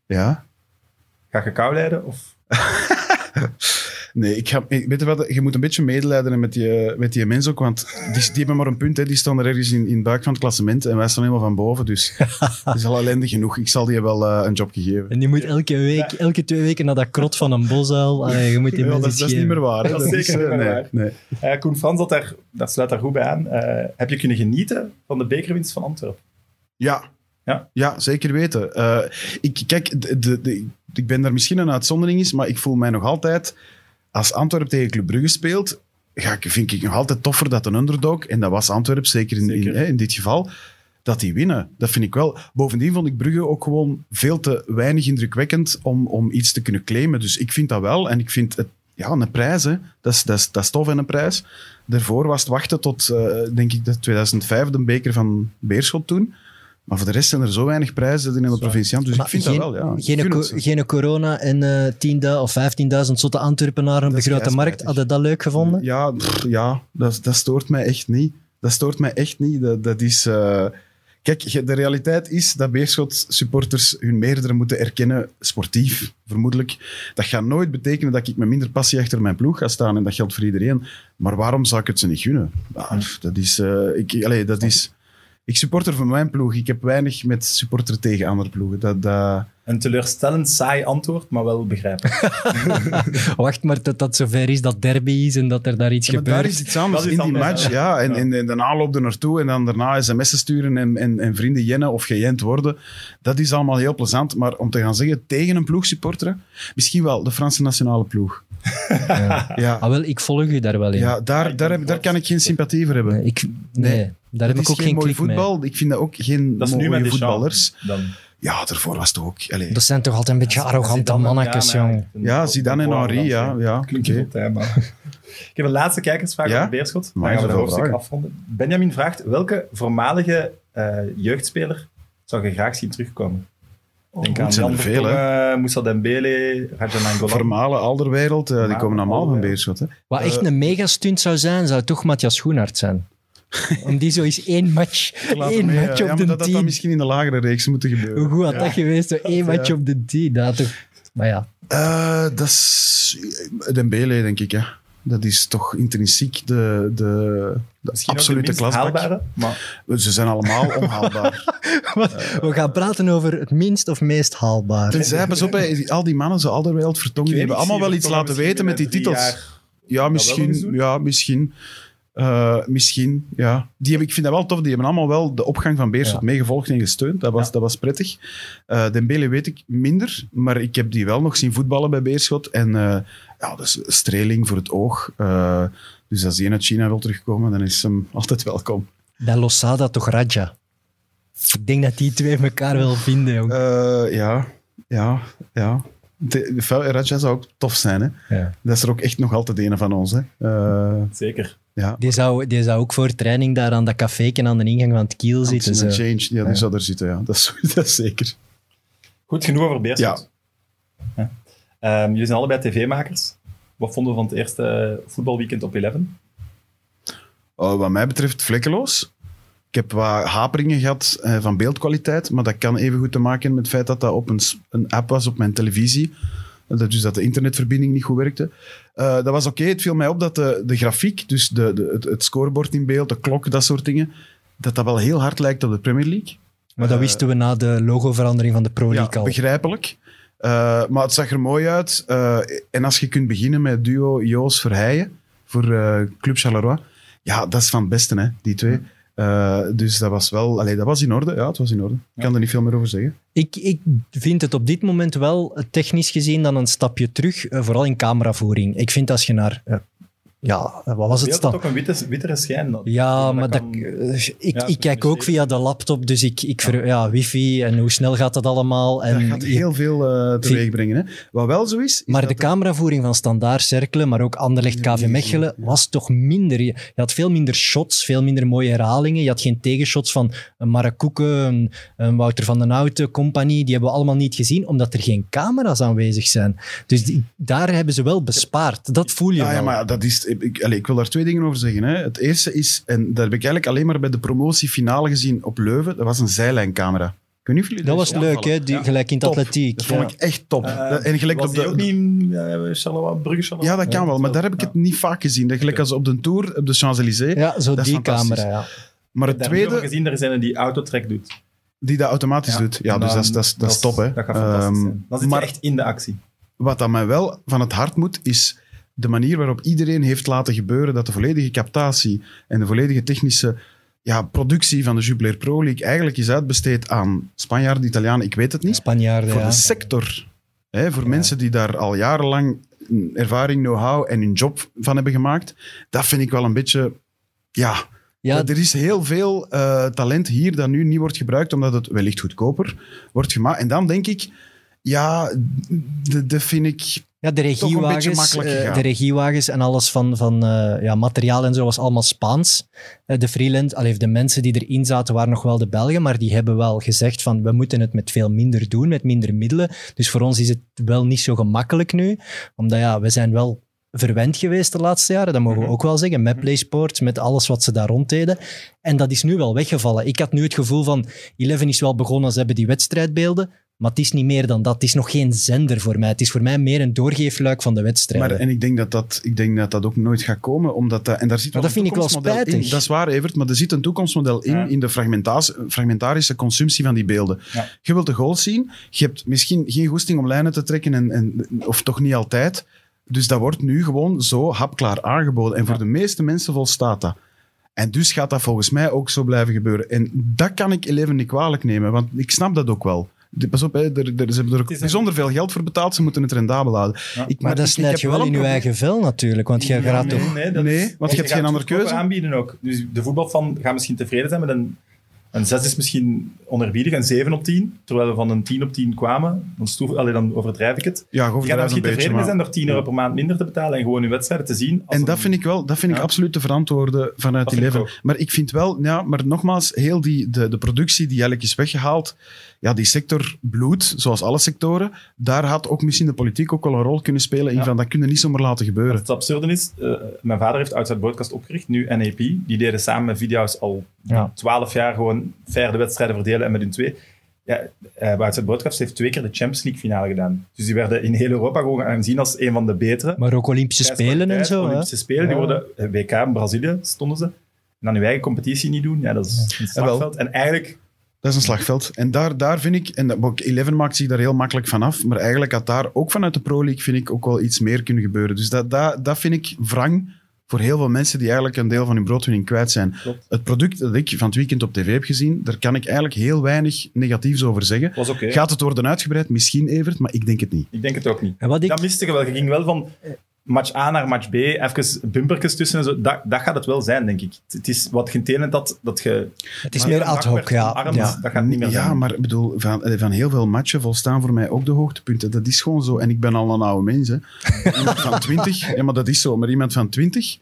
Speaker 3: Ja.
Speaker 1: Ga je kou lijden? Of...
Speaker 3: Nee, ik ga, ik- weet je wat, je moet een beetje medelijden met die, eh, met die mensen ook, want die, die hebben maar een punt, hè, die staan er ergens in, in het buik van het klassement en wij staan helemaal van boven, dus dat is al ellendig genoeg. Ik zal die wel eh, een jobje geven.
Speaker 2: En die moet elke, week, elke twee weken naar dat krot van een bosuil. Allee, je moet die
Speaker 3: Ja, dat,
Speaker 2: mensen
Speaker 3: is-
Speaker 2: iets
Speaker 3: dat is niet
Speaker 2: geven.
Speaker 3: meer waar. hè.
Speaker 1: Dat is zeker
Speaker 3: eh,
Speaker 1: niet meer
Speaker 3: nee,
Speaker 1: waar.
Speaker 3: Nee.
Speaker 1: Eh, Koen Frans, dat, daar, dat sluit daar goed bij aan. Eh, heb je kunnen genieten van de bekerwinst van Antwerpen?
Speaker 3: Ja.
Speaker 1: Ja?
Speaker 3: zeker weten. Eh, ik, kijk, de, de, de- ik ben daar misschien een uitzondering is, maar ik voel mij nog altijd... Als Antwerp tegen Club Brugge speelt, ga ik, vind ik nog altijd toffer dat een underdog, en dat was Antwerp zeker in,
Speaker 1: Zeker.
Speaker 3: In, hè, in dit geval, dat die winnen. Dat vind ik wel. Bovendien vond ik Brugge ook gewoon veel te weinig indrukwekkend om, om iets te kunnen claimen. Dus ik vind dat wel. En ik vind het, ja, een prijs, hè. Dat, is, dat, is, dat is tof en een prijs. Daarvoor was het wachten tot, eh, denk ik, dat 2005 de beker van Beerschot toen. Maar voor de rest zijn er zo weinig prijzen in de provincie. Dus
Speaker 2: Maar
Speaker 3: ik vind
Speaker 2: geen,
Speaker 3: dat wel, ja. Ik
Speaker 2: Geen,
Speaker 3: gun
Speaker 2: co-
Speaker 3: het ze.
Speaker 2: geen corona en eh 10.000 of 15.000 zotte Antwerpenaren op
Speaker 3: Dat
Speaker 2: de
Speaker 3: is
Speaker 2: grote
Speaker 3: keispijtig.
Speaker 2: markt. Had je dat leuk gevonden?
Speaker 3: Ja, pff, ja dat, dat stoort mij echt niet. Dat stoort mij echt niet. Dat, dat is... eh, Kijk, je- de realiteit is dat Beerschot-supporters hun meerdere moeten erkennen, sportief, vermoedelijk. Dat gaat nooit betekenen dat ik met minder passie achter mijn ploeg ga staan, en dat geldt voor iedereen. Maar waarom zou ik het ze niet gunnen? Ah, pff, dat is... eh, ik, allee, dat is ik supporter van mijn ploeg. Ik heb weinig met supporter tegen andere ploegen. Dat, dat,
Speaker 1: Een teleurstellend saai antwoord, maar wel begrijpen.
Speaker 2: Wacht maar tot dat zover is dat derby is en dat er daar iets
Speaker 3: Ja, maar
Speaker 2: gebeurt.
Speaker 3: daar is iets anders
Speaker 1: Dat is
Speaker 3: in die
Speaker 1: anders,
Speaker 3: match. Ja, en, en, en daarna loopt er naartoe en dan daarna sms'en sturen en, en, en vrienden jennen of gejent worden. Dat is allemaal heel plezant. Maar om te gaan zeggen tegen een ploeg supporteren, misschien wel de Franse nationale ploeg.
Speaker 2: Ja.
Speaker 3: Ja,
Speaker 2: Ah, wel, ik volg u daar wel in.
Speaker 3: ja daar, daar, heb, daar kan ik geen sympathie voor hebben.
Speaker 2: Nee, ik, nee,
Speaker 3: Nee,
Speaker 2: daar heb
Speaker 3: dat
Speaker 2: ik
Speaker 3: is
Speaker 2: ook geen
Speaker 3: mooi
Speaker 2: klik mee.
Speaker 3: voetbal. Ik vind dat ook geen
Speaker 1: Dat is nu
Speaker 3: mooie
Speaker 1: met de
Speaker 3: voetballers.
Speaker 1: Dan.
Speaker 3: Ja, daarvoor was het ook... allee.
Speaker 2: Dat zijn toch altijd een beetje arrogante mannetjes, jong.
Speaker 3: Ja, Zidane en Henri, ja. ja
Speaker 1: Klinkt heel
Speaker 3: oké.
Speaker 1: tijd, maar... Ik heb een laatste kijkersvraag
Speaker 3: Ja?
Speaker 1: van Beerschot. Dan
Speaker 3: Maar
Speaker 1: gaan we het
Speaker 3: zoveel
Speaker 1: hoofdstuk
Speaker 3: vragen.
Speaker 1: afronden. Benjamin vraagt, welke voormalige eh, jeugdspeler zou je graag zien terugkomen? Denk
Speaker 3: het
Speaker 1: aan
Speaker 3: zijn er
Speaker 1: Jan
Speaker 3: veel, hè.
Speaker 1: Vertongen, Moussa Dembele, Rajan Angolan.
Speaker 3: Vermalen, Alderwereld, eh, die
Speaker 1: Vermalen,
Speaker 3: komen allemaal van
Speaker 1: Alderweireld.
Speaker 3: Beerschot. Hè.
Speaker 2: Wat echt een megastunt zou zijn, zou toch Matthias Schoenaert zijn. Om die zo eens één match,
Speaker 3: Laten
Speaker 2: één
Speaker 3: we-
Speaker 2: match
Speaker 3: ja,
Speaker 2: op
Speaker 3: maar
Speaker 2: de
Speaker 3: dat had dan
Speaker 2: tien.
Speaker 3: misschien in de lagere reeks moeten gebeuren.
Speaker 2: Hoe goed had dat geweest? Zo één match op de tien. Dat had toch... Maar ja,
Speaker 3: Eh, dat is Dembele, eh, denk ik. Hè. Dat is toch intrinsiek de, de, de
Speaker 1: Misschien ook de
Speaker 3: absolute
Speaker 1: minst
Speaker 3: klasbak.
Speaker 1: haalbare, maar
Speaker 3: Ze zijn allemaal onhaalbaar.
Speaker 2: We gaan praten over het minst of meest haalbaar.
Speaker 3: Tenzij, pas op, hè, al die mannen, ze al de wereld vertongen, die
Speaker 1: Ik weet
Speaker 3: hebben
Speaker 1: niet,
Speaker 3: allemaal wel
Speaker 1: zie
Speaker 3: iets
Speaker 1: je
Speaker 3: laten
Speaker 1: misschien
Speaker 3: weten met die
Speaker 1: binnen drie
Speaker 3: titels.
Speaker 1: jaar.
Speaker 3: Ja,
Speaker 1: wel
Speaker 3: misschien.
Speaker 1: eens doen?
Speaker 3: Ja, misschien. Eh, misschien, ja. Die heb, ik vind dat wel tof. Die hebben allemaal wel de opgang van Beerschot
Speaker 2: Ja.
Speaker 3: meegevolgd en gesteund. Dat was, dat was prettig. Eh Dembele weet ik minder, maar ik heb die wel nog zien voetballen bij Beerschot. En eh, ja, dat is streling voor het oog. Eh, dus als die uit China wil terugkomen, dan is hem altijd welkom.
Speaker 2: Bij Losada toch Raja. Ik denk dat die twee elkaar wel vinden, jong.
Speaker 3: Eh, ja, ja, ja. De, de, Raja zou ook tof zijn, hè.
Speaker 2: Ja.
Speaker 3: Dat is er ook echt nog altijd een van ons, hè. Eh,
Speaker 1: zeker.
Speaker 3: ja.
Speaker 2: Die zou, die zou ook voor training daar aan dat café aan de ingang van het kiel zitten.
Speaker 3: Anthony
Speaker 2: zo.
Speaker 3: Change, ja, die zou er zitten, ja. Dat is, dat is zeker.
Speaker 1: Goed genoeg over Beerschot.
Speaker 3: Ja.
Speaker 1: Ja. Ehm, jullie zijn allebei tv-makers. Wat vonden we van het eerste voetbalweekend op 11?
Speaker 3: Oh, wat mij betreft vlekkeloos. Ik heb wat haperingen gehad eh, van beeldkwaliteit, maar dat kan even goed te maken hebben met het feit dat dat op een, s- een app was op mijn televisie. Dat- Dus dat de internetverbinding niet goed werkte. Eh, dat was oké. Het viel mij op dat de, de grafiek, dus de, de, het, het scorebord in beeld, de klok, dat soort dingen, dat dat wel heel hard lijkt op de Premier League.
Speaker 2: Maar dat wisten we na de logoverandering van de Pro League
Speaker 3: Ja,
Speaker 2: al.
Speaker 3: begrijpelijk. Eh, maar het zag er mooi uit. Eh, en als je kunt beginnen met duo Joos Verheijen voor eh, Club Charleroi. Ja, dat is van het beste, hè, die twee. Eh, dus dat was wel... Allee, dat was in orde. Ja, het was in orde. Ik kan er niet veel meer over zeggen.
Speaker 2: Ik, ik vind het op dit moment wel eh, technisch gezien dan een stapje terug, eh, vooral in cameravoering. Ik vind als je naar... eh, ja, eh, wat was het?
Speaker 1: Beeld
Speaker 2: stap?
Speaker 1: had ook een witte, wittere schijn. dat-
Speaker 2: Ja, maar dat,
Speaker 1: kan-
Speaker 2: eh, ik,
Speaker 1: dat
Speaker 2: ik
Speaker 1: is
Speaker 2: kijk ook
Speaker 1: misschien-
Speaker 2: via de laptop, dus ik, ik ver, ja, wifi en hoe snel gaat dat allemaal. En
Speaker 3: dat gaat heel veel eh, teweeg brengen. Hè. Wat wel zo is... is
Speaker 2: maar
Speaker 3: dat
Speaker 2: de cameravoering van Standaard Cerkelen, maar ook Anderlecht
Speaker 3: Ja,
Speaker 2: KV
Speaker 3: die-
Speaker 2: Mechelen, was toch minder. Je je had veel minder shots, veel minder mooie herhalingen. Je had geen tegenshots van een Marakoeken, een, een Wouter van den Houten, compagnie. Die hebben we allemaal niet gezien, omdat er geen camera's aanwezig zijn. Dus die- daar hebben ze wel bespaard. Dat voel je
Speaker 3: Ah, ja,
Speaker 2: wel.
Speaker 3: maar dat is, ik, ik- allee, ik wil daar twee dingen over zeggen. Hè. Het eerste is, en dat heb ik eigenlijk alleen maar bij de promotiefinale gezien op Leuven, dat was een zijlijncamera. Ik weet niet of jullie
Speaker 2: dat was
Speaker 3: zien
Speaker 2: leuk,
Speaker 3: opvallen.
Speaker 2: hè? Die, gelijk in het
Speaker 3: Top.
Speaker 2: atletiek.
Speaker 3: Dat vond
Speaker 2: ja.
Speaker 3: ik echt top.
Speaker 1: Eh,
Speaker 3: Dat- en gelijk
Speaker 1: was
Speaker 3: op
Speaker 1: die
Speaker 3: de,
Speaker 1: ook niet in eh, Charleroi, Brugge Charleroi?
Speaker 3: Ja, dat kan wel, maar daar heb ik het niet vaak gezien. Dat Gelijk
Speaker 1: Oké.
Speaker 3: als op de Tour, op de Champs-Élysées.
Speaker 2: Ja, zo
Speaker 3: Dat is
Speaker 2: die
Speaker 3: fantastisch.
Speaker 2: camera, ja.
Speaker 3: Maar
Speaker 1: Ik
Speaker 3: het
Speaker 1: heb daar niet over
Speaker 3: tweede,
Speaker 1: gezien, er is een die autotrack doet.
Speaker 3: die dat automatisch
Speaker 1: Ja.
Speaker 3: doet. Ja, dus
Speaker 1: Dan-
Speaker 3: dat is, dat is, dat is top, hè.
Speaker 1: Dat gaat fantastisch
Speaker 3: Ehm,
Speaker 1: zijn. Dan zit
Speaker 3: maar
Speaker 1: je echt in de actie.
Speaker 3: wat aan mij wel van het hart moet, is de manier waarop iedereen heeft laten gebeuren dat de volledige captatie en de volledige technische ja, productie van de Jubilair Pro League eigenlijk is uitbesteed aan Spanjaarden, Italianen, ik weet het niet.
Speaker 2: Spanjaarden,
Speaker 3: voor
Speaker 2: ja.
Speaker 3: de sector. Hè, voor mensen die daar al jarenlang ervaring, know-how en hun job van hebben gemaakt. Dat vind ik wel een beetje... Ja,
Speaker 2: Ja,
Speaker 3: er is heel veel eh, talent hier dat nu niet wordt gebruikt, omdat het wellicht goedkoper wordt gemaakt. En dan denk ik... Ja, d- dat vind ik...
Speaker 2: Ja, de
Speaker 3: Toch een beetje
Speaker 2: regiewagens,
Speaker 3: makkelijk
Speaker 2: eh,
Speaker 3: gegaan.
Speaker 2: de regiewagens en alles van, van eh, ja, materiaal en zo was allemaal Spaans. Eh, de freelance, allee, de mensen die erin zaten waren nog wel de Belgen, maar die hebben wel gezegd van we moeten het met veel minder doen, met minder middelen. Dus voor ons is het wel niet zo gemakkelijk nu, omdat ja, we zijn wel verwend geweest de laatste jaren, dat mogen we
Speaker 1: Mhm.
Speaker 2: ook wel zeggen, met PlaySports, met alles wat ze daar rond deden. En dat is nu wel weggevallen. Ik had nu het gevoel van, Eleven is wel begonnen, ze hebben die wedstrijdbeelden, maar het is niet meer dan dat. Het is nog geen zender voor mij. Het is voor mij meer een doorgeefluik van de
Speaker 3: Maar,
Speaker 2: wedstrijden.
Speaker 3: en ik denk dat, dat, ik denk dat dat ook nooit gaat komen, omdat dat... En daar zit
Speaker 2: Maar
Speaker 3: wel
Speaker 2: dat
Speaker 3: een
Speaker 2: vind ik wel
Speaker 3: toekomstmodel
Speaker 2: spijtig.
Speaker 3: in. Dat is waar, Evert, maar er zit een toekomstmodel in,
Speaker 1: Ja.
Speaker 3: in de fragmentaas- fragmentarische consumptie van die beelden.
Speaker 1: Ja.
Speaker 3: Je wilt de goals zien, je hebt misschien geen goesting om lijnen te trekken, en, en, of toch niet altijd. Dus dat wordt nu gewoon zo hapklaar aangeboden. En voor
Speaker 1: Ja.
Speaker 3: de meeste mensen volstaat dat. En dus gaat dat volgens mij ook zo blijven gebeuren. En dat kan ik Eleven niet kwalijk nemen, want ik snap dat ook wel. De- Pas op, hè, er, er, ze hebben er ook
Speaker 1: Het is een-
Speaker 3: bijzonder veel geld voor betaald. Ze moeten het rendabel houden.
Speaker 1: Ja.
Speaker 3: Ik,
Speaker 2: Maar dat
Speaker 3: ik- ik
Speaker 2: snijd
Speaker 3: heb
Speaker 2: je wel
Speaker 3: een
Speaker 2: in je
Speaker 3: probleem.
Speaker 2: eigen vel natuurlijk, want jij gaat toch...
Speaker 1: dat
Speaker 3: Nee,
Speaker 1: is-
Speaker 3: want je hebt geen
Speaker 1: gaat het
Speaker 3: andere
Speaker 1: goedkoper
Speaker 3: keuze.
Speaker 1: aanbieden ook. Dus de voetbalfan gaat misschien tevreden zijn met een... Een 6 is misschien onerbiedig, een 7 op 10. Terwijl we van een 10 op 10 kwamen. Dan, stoef, allee, dan overdrijf ik het.
Speaker 3: Ja,
Speaker 1: Je gaat er
Speaker 3: overdrijven
Speaker 1: misschien
Speaker 3: een beetje,
Speaker 1: tevreden mee
Speaker 3: maar-
Speaker 1: zijn door 10 euro per maand minder te betalen en gewoon je wedstrijden te zien. als
Speaker 3: En
Speaker 1: een-
Speaker 3: dat vind ik wel, dat vind ik
Speaker 1: Ja.
Speaker 3: absoluut te verantwoorden vanuit
Speaker 1: Dat
Speaker 3: die
Speaker 1: vind ik
Speaker 3: level. Maar ik vind wel, ja, maar nogmaals, heel die, de, de productie die eigenlijk is weggehaald, ja, die sector bloedt, zoals alle sectoren, daar had ook misschien de politiek ook wel een rol kunnen spelen in
Speaker 1: Ja.
Speaker 3: van, dat kunnen niet zomaar laten gebeuren.
Speaker 1: Het absurde is, eh, mijn vader heeft Outside Broadcast opgericht, nu NAP. Die deden samen met Video's al
Speaker 2: Ja.
Speaker 1: 12 jaar gewoon fair de wedstrijden verdelen en met hun twee. Ja, eh Wout Broodkast heeft twee keer de Champions League finale gedaan. Dus die werden in heel Europa gewoon aanzien als een van de betere.
Speaker 2: Maar ook Olympische Spelen en
Speaker 1: Tijdens
Speaker 2: zo. hè?
Speaker 1: Olympische Spelen, die
Speaker 2: Ja.
Speaker 1: worden eh, WK in Brazilië stonden ze. En dan hun eigen competitie niet doen, ja, dat is een
Speaker 3: Jawel.
Speaker 1: slagveld. En eigenlijk,
Speaker 3: Dat is een slagveld. En daar, daar vind ik, en dat- ook Eleven maakt zich daar heel makkelijk van af, maar eigenlijk had daar ook vanuit de Pro League, vind ik, ook wel iets meer kunnen gebeuren. Dus dat, dat, dat vind ik wrang voor heel veel mensen die eigenlijk een deel van hun broodwinning kwijt zijn.
Speaker 1: Klopt.
Speaker 3: Het product dat ik van het weekend op tv heb gezien, daar kan ik eigenlijk heel weinig negatiefs over zeggen.
Speaker 1: was oké.
Speaker 3: Gaat het worden uitgebreid? Misschien, Evert, maar ik denk het niet.
Speaker 1: Ik denk het ook niet.
Speaker 2: En wat ik
Speaker 1: Dat miste je wel. Je ging wel van match A naar match B, even bumpertjes tussen en zo. Dat, dat gaat het wel zijn, denk ik. Het- Het is wat geen dat, dat je...
Speaker 2: Het is meer ad hoc, ja.
Speaker 1: Arms,
Speaker 2: ja.
Speaker 1: Dat gaat niet meer
Speaker 3: Ja,
Speaker 1: zijn.
Speaker 3: maar ik bedoel, van, eh, van heel veel matchen volstaan voor mij ook de hoogtepunten. Dat is gewoon zo. En ik ben al een oude mens, hè. Iemand van 20, ja, maar dat is zo. Maar iemand van 20,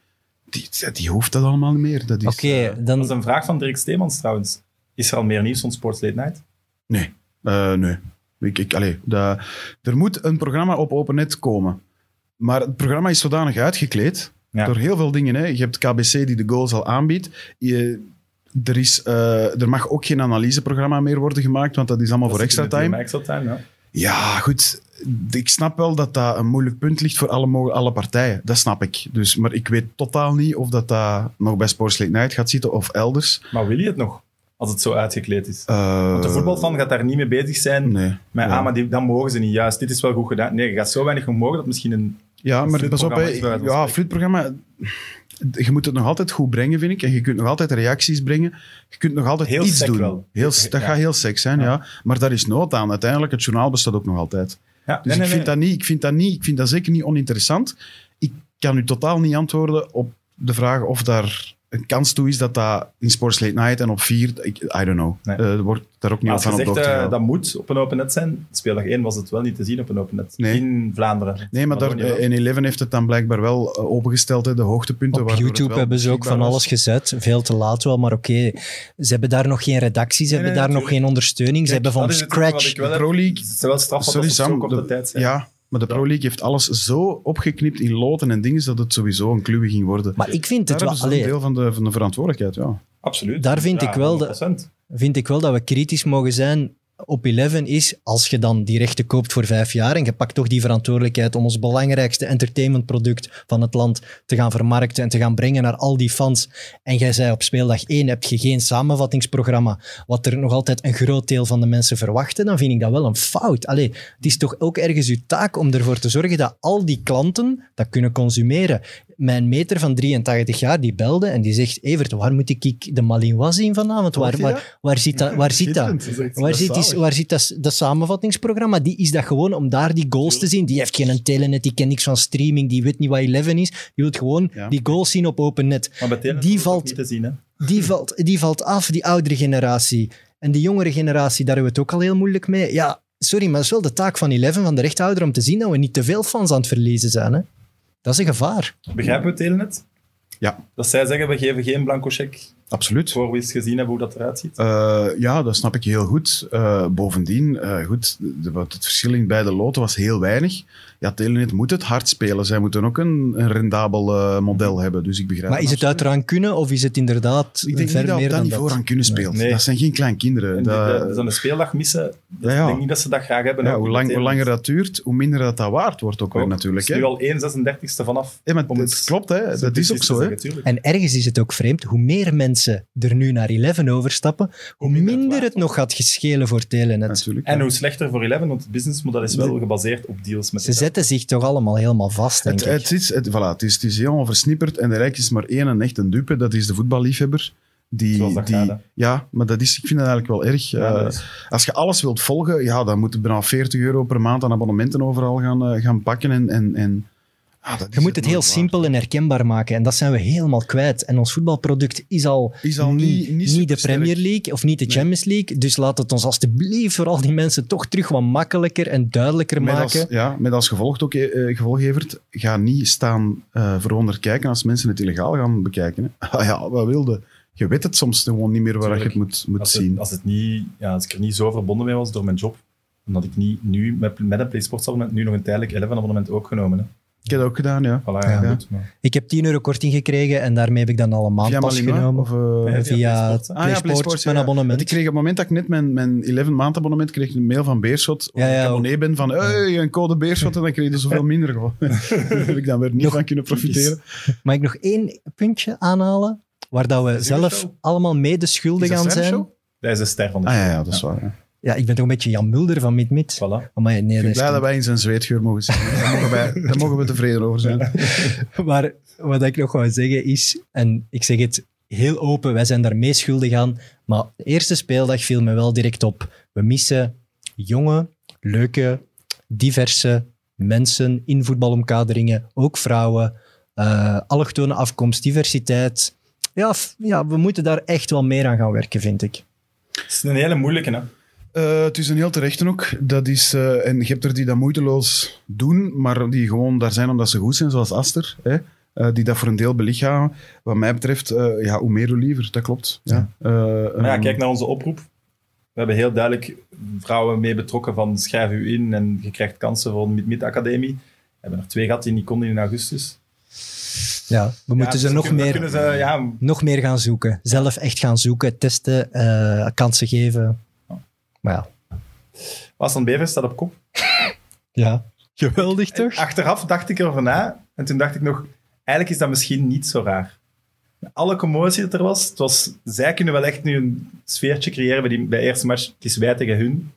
Speaker 3: die, die hoeft dat allemaal niet meer. Dat is,
Speaker 2: Oké,
Speaker 3: eh,
Speaker 2: dan...
Speaker 1: Dat is een vraag van Dirk Steemans trouwens. Is er al meer nieuws van Sports Late Night?
Speaker 3: Nee, Eh, nee. Ik, ik, allee, dat- er moet een programma op OpenNet komen. Maar het programma is zodanig uitgekleed
Speaker 1: Ja.
Speaker 3: door heel veel dingen. Hè. Je hebt KBC die de goals al aanbiedt. Je, er, is, eh, er mag ook geen analyseprogramma meer worden gemaakt, want dat is allemaal
Speaker 1: Dat
Speaker 3: voor
Speaker 1: zit in
Speaker 3: extra
Speaker 1: het
Speaker 3: time.
Speaker 1: thema Extra time, ja.
Speaker 3: Ja, goed. Ik snap wel dat dat een moeilijk punt ligt voor alle, mo- alle partijen. Dat snap ik. Dus, maar ik weet totaal niet of dat, dat nog bij Sports Late Night gaat zitten of elders.
Speaker 1: Maar wil je het nog? Als het zo uitgekleed is.
Speaker 3: Eh,
Speaker 1: Want de voetbalfan gaat daar niet mee bezig zijn.
Speaker 3: Nee.
Speaker 1: Maar,
Speaker 3: Ja.
Speaker 1: ah, maar die, dan mogen ze niet. Juist, dit is wel goed gedaan. Nee, je gaat zo weinig mogen dat misschien een...
Speaker 3: Ja,
Speaker 1: Een
Speaker 3: maar pas op, hè.
Speaker 1: flutprogramma is waar het
Speaker 3: ja,
Speaker 1: ons-
Speaker 3: flutprogramma. Je moet het nog altijd goed brengen, vind ik. En je kunt nog altijd reacties brengen. Je kunt nog altijd
Speaker 1: Heel
Speaker 3: iets
Speaker 1: sec
Speaker 3: doen.
Speaker 1: wel.
Speaker 3: Heel, dat
Speaker 1: Ja.
Speaker 3: gaat heel sec zijn, ja. Maar daar is nood aan. Uiteindelijk, het journaal bestaat ook nog altijd.
Speaker 1: Ja,
Speaker 3: Dus
Speaker 1: nee,
Speaker 3: ik,
Speaker 1: nee,
Speaker 3: vind
Speaker 1: nee.
Speaker 3: Dat niet, ik vind dat niet, ik vind dat zeker niet oninteressant. Ik kan u totaal niet antwoorden op de vraag of daar een kans toe is dat dat in Sports Late Night en op 4, ik, I don't know.
Speaker 1: Nee.
Speaker 3: Eh, er wordt daar ook niet
Speaker 1: Maar
Speaker 3: op
Speaker 1: als je
Speaker 3: van
Speaker 1: zegt
Speaker 3: op de hoogte
Speaker 1: eh,
Speaker 3: gehouden.
Speaker 1: dat moet op een open net zijn, speeldag 1 was het wel niet te zien op een open net.
Speaker 3: Nee.
Speaker 1: In Vlaanderen.
Speaker 3: Nee, maar daar, eh,
Speaker 1: Wallonië wel.
Speaker 3: en Eleven heeft het dan blijkbaar wel eh, opengesteld, hè, de hoogtepunten.
Speaker 2: Op
Speaker 3: waardoor het
Speaker 2: YouTube
Speaker 3: wel
Speaker 2: hebben ze ook van
Speaker 3: beschikbaar was.
Speaker 2: alles gezet. Veel te laat wel, maar oké. Ze hebben daar nog geen redactie, ze
Speaker 1: Nee,
Speaker 2: hebben
Speaker 1: nee,
Speaker 2: daar nog
Speaker 1: natuurlijk.
Speaker 2: geen
Speaker 3: eh,
Speaker 2: ondersteuning. Ze
Speaker 1: Kijk,
Speaker 2: hebben van
Speaker 1: dat is natuurlijk wat
Speaker 2: scratch...
Speaker 1: ik wel
Speaker 3: De
Speaker 1: heb.
Speaker 3: Pro League-
Speaker 1: Het is wel straf wat
Speaker 3: Sorry
Speaker 1: dat ze zo
Speaker 3: Sam,
Speaker 1: kort
Speaker 3: de-
Speaker 1: op de tijd zijn.
Speaker 3: ja, maar de Pro League heeft alles zo opgeknipt in loten en dingen dat het sowieso een clue ging worden.
Speaker 2: Maar ik vind
Speaker 3: Daar
Speaker 2: het
Speaker 3: hebben
Speaker 2: wel...
Speaker 3: ze een
Speaker 2: Allee,
Speaker 3: deel van de, van de verantwoordelijkheid, ja.
Speaker 1: Absoluut.
Speaker 2: Daar vind
Speaker 1: Ja,
Speaker 2: ik wel de-
Speaker 1: 100%.
Speaker 2: vind ik wel dat we kritisch mogen zijn op Eleven is, als je dan die rechten koopt voor vijf jaar en je pakt toch die verantwoordelijkheid om ons belangrijkste entertainmentproduct van het land te gaan vermarkten en te gaan brengen naar al die fans. En jij zei op speeldag 1 heb je geen samenvattingsprogramma, wat er nog altijd een groot deel van de mensen verwachten, dan vind ik dat wel een fout. Allee, het is toch ook ergens uw taak om ervoor te zorgen dat al die klanten dat kunnen consumeren. Mijn meter van 83 jaar, die belde en die zegt, Evert, waar moet ik de Malinois zien vanavond? Waar,
Speaker 3: Hoort hij dat?
Speaker 2: waar, waar zit dat? Waar zit dat?
Speaker 3: Schitterend.
Speaker 2: Waar zit, die, waar zit dat, dat samenvattingsprogramma? Die is dat gewoon om daar die goals te zien. Die heeft geen telenet, die kent niks van streaming, die weet niet wat 11 is. Die wil gewoon
Speaker 3: Ja.
Speaker 2: die goals zien op open net.
Speaker 1: Maar bij Telenet
Speaker 2: Die
Speaker 1: is het ook
Speaker 2: valt-
Speaker 1: niet te zien. Hè.
Speaker 2: Die valt, die valt af, die oudere generatie. En die jongere generatie, daar hebben we het ook al heel moeilijk mee. Ja, sorry, maar dat is wel de taak van 11, van de rechthouder, om te zien dat we niet te veel fans aan het verliezen zijn. Hè? Dat is een gevaar.
Speaker 1: Begrijpen we Telenet?
Speaker 3: Ja.
Speaker 1: Dat zij zeggen, we geven geen blanco check
Speaker 3: Absoluut.
Speaker 1: voor we eens gezien hebben hoe dat eruit ziet.
Speaker 3: Eh, ja, dat snap ik heel goed. Eh, bovendien, eh, goed, de- wat het verschil in beide loten was heel weinig. Ja, Telenet moet het hard spelen. Zij moeten ook een, een rendabel eh, model hebben. Dus ik begrijp
Speaker 2: Maar is het
Speaker 3: absoluut.
Speaker 2: uit kunnen of is het inderdaad
Speaker 3: Ik denk
Speaker 2: ver
Speaker 3: niet dat
Speaker 2: meer
Speaker 3: op dat
Speaker 2: dan
Speaker 3: niveau
Speaker 2: dat?
Speaker 3: aan kunnen speelt.
Speaker 1: Nee.
Speaker 3: Dat zijn geen kleinkinderen.
Speaker 1: En die-
Speaker 3: Dat-
Speaker 1: de- dus aan de speeldag missen, dat,
Speaker 3: Ja, ja.
Speaker 1: ik denk niet dat ze dat graag hebben.
Speaker 3: ja,
Speaker 1: ook
Speaker 3: hoe,
Speaker 1: bij
Speaker 3: lang, hoe
Speaker 1: Telenet.
Speaker 3: langer dat duurt, hoe minder dat, dat waard wordt ook, weer
Speaker 1: Ook.
Speaker 3: natuurlijk.
Speaker 1: Het is
Speaker 3: Hè?
Speaker 1: nu al 1,36ste vanaf.
Speaker 3: Ja, maar
Speaker 1: om
Speaker 3: het
Speaker 1: het
Speaker 3: klopt, hè. dat is ook zo. Hè.
Speaker 2: En ergens is het ook vreemd, hoe meer mensen er nu naar 11 overstappen, hoe
Speaker 1: minder
Speaker 2: minder,
Speaker 1: het waard
Speaker 2: het nog gaat geschelen voor Telenet.
Speaker 3: Natuurlijk.
Speaker 1: En hoe slechter voor Eleven, want het businessmodel is wel gebaseerd op deals met
Speaker 2: Ze zetten zich toch allemaal helemaal vast, denk
Speaker 3: Het,
Speaker 2: ik.
Speaker 3: het, is, het, voilà, het, is, het is helemaal versnipperd en er rijk is maar één en echt een dupe. Dat is de voetballiefhebber. Die,
Speaker 1: Zoals dat
Speaker 3: die,
Speaker 1: gaat, hè.
Speaker 3: ja, maar dat is, ik vind dat eigenlijk wel erg.
Speaker 1: Ja, dus dat
Speaker 3: Eh,
Speaker 1: is-
Speaker 3: als je alles wilt volgen, ja, dan moet je bijna 40 euro per maand aan abonnementen overal gaan, eh, gaan pakken. En, en, en, ah, dat is
Speaker 2: Je moet het heel
Speaker 3: nooit waard.
Speaker 2: simpel en herkenbaar maken. En dat zijn we helemaal kwijt. En ons voetbalproduct is al,
Speaker 3: Is al niet- niet
Speaker 2: de
Speaker 3: supersterk.
Speaker 2: Premier League of niet de Champions League. Dus laat het ons alstublieft voor al die mensen toch terug wat makkelijker en duidelijker
Speaker 3: Met
Speaker 2: maken.
Speaker 3: als, ja, met als gevolg ook, eh, gevolggeverd, ga niet staan eh veronder kijken als mensen het illegaal gaan bekijken. Hè. Ah ja, wat wilde. Je weet het soms gewoon niet meer waar je het moet, moet
Speaker 1: als,
Speaker 3: zien.
Speaker 1: het, als, het niet, ja, als ik er niet zo verbonden mee was door mijn job, dan had ik niet nu met, met een PlaySports abonnement nu nog een tijdelijk 11 abonnement ook genomen. Hè.
Speaker 3: Ik heb dat ook gedaan, ja.
Speaker 1: Voilà,
Speaker 2: Ja.
Speaker 1: ja, goed. Maar...
Speaker 2: Ik heb 10 euro korting gekregen en daarmee heb ik dan al een
Speaker 3: Via
Speaker 2: maandpas
Speaker 3: Malima,
Speaker 2: genomen.
Speaker 3: Of, eh,
Speaker 1: Nee,
Speaker 2: via
Speaker 1: PlaySports,
Speaker 2: PlaySports,
Speaker 1: hè?
Speaker 3: Ah, ja, PlaySports,
Speaker 2: mijn
Speaker 3: ja. Want
Speaker 2: abonnement.
Speaker 3: Ik kreeg op het moment dat ik net mijn, mijn 11 maand abonnement kreeg, ik een mail van Beerschot. Ja,
Speaker 2: Ja,
Speaker 3: ik
Speaker 2: ja,
Speaker 3: abonnee ben van, hey, een code Beerschot. En dan kreeg je er zoveel minder gewoon. Daar heb ik dan weer niet
Speaker 2: Nog-
Speaker 3: van kunnen profiteren.
Speaker 2: Mag ik nog één puntje aanhalen? Waar dat we
Speaker 3: dat
Speaker 2: zelf
Speaker 3: zo?
Speaker 2: allemaal mede
Speaker 3: Is
Speaker 2: schuldig
Speaker 3: dat
Speaker 2: aan
Speaker 3: zijn
Speaker 2: zijn.
Speaker 3: show?
Speaker 1: Dat is de ster van de
Speaker 3: Ah
Speaker 1: show.
Speaker 3: ja, ja, dat is waar. ja.
Speaker 2: Ja, ik ben toch een beetje Jan Mulder van Mid Mid.
Speaker 1: Voilà.
Speaker 2: Amai, nee,
Speaker 3: Ik
Speaker 2: dat
Speaker 3: ben
Speaker 2: is
Speaker 3: blij dat wij in zijn zweetgeur mogen zitten. Daar mogen, wij, daar mogen we tevreden over zijn.
Speaker 2: Maar wat ik nog wou zeggen is, en ik zeg het heel open, wij zijn daar mee schuldig aan, maar de eerste speeldag viel me wel direct op. We missen jonge, leuke, diverse mensen in voetbalomkaderingen, ook vrouwen, eh allochtone afkomst, diversiteit. Ja, f- ja, we moeten daar echt wel meer aan gaan werken, vind ik.
Speaker 1: Het is een hele moeilijke, hè.
Speaker 3: Eh, het is een heel terechte ook. Dat is, eh, en je hebt er die dat moeiteloos doen, maar die gewoon daar zijn omdat ze goed zijn, zoals Aster. Hè? eh, die dat voor een deel belichamen. Wat mij betreft, eh, ja, hoe meer, hoe liever. Dat klopt. Ja. Eh,
Speaker 1: Maar ja,
Speaker 3: ehm,
Speaker 1: kijk naar onze oproep. We hebben heel duidelijk vrouwen mee betrokken van schrijf u in en je krijgt kansen voor de Mid-Mid Academie. We hebben er twee gehad in die konden in augustus.
Speaker 2: Ja, we moeten
Speaker 1: dus
Speaker 2: ze nog
Speaker 1: kunnen-
Speaker 2: meer,
Speaker 1: kunnen ze, ja,
Speaker 2: nog meer gaan zoeken. Zelf echt gaan zoeken, testen, eh, kansen geven. Maar ja.
Speaker 1: Bas van Bever staat op kop.
Speaker 2: Ja. Geweldig
Speaker 3: Eh,
Speaker 2: toch?
Speaker 1: Achteraf dacht ik erover na en toen dacht ik nog, eigenlijk is dat misschien niet zo raar. Met Alle commotie dat er was, het was, zij kunnen wel echt nu een sfeertje creëren bij, die, bij de eerste match. Het is wij tegen hun.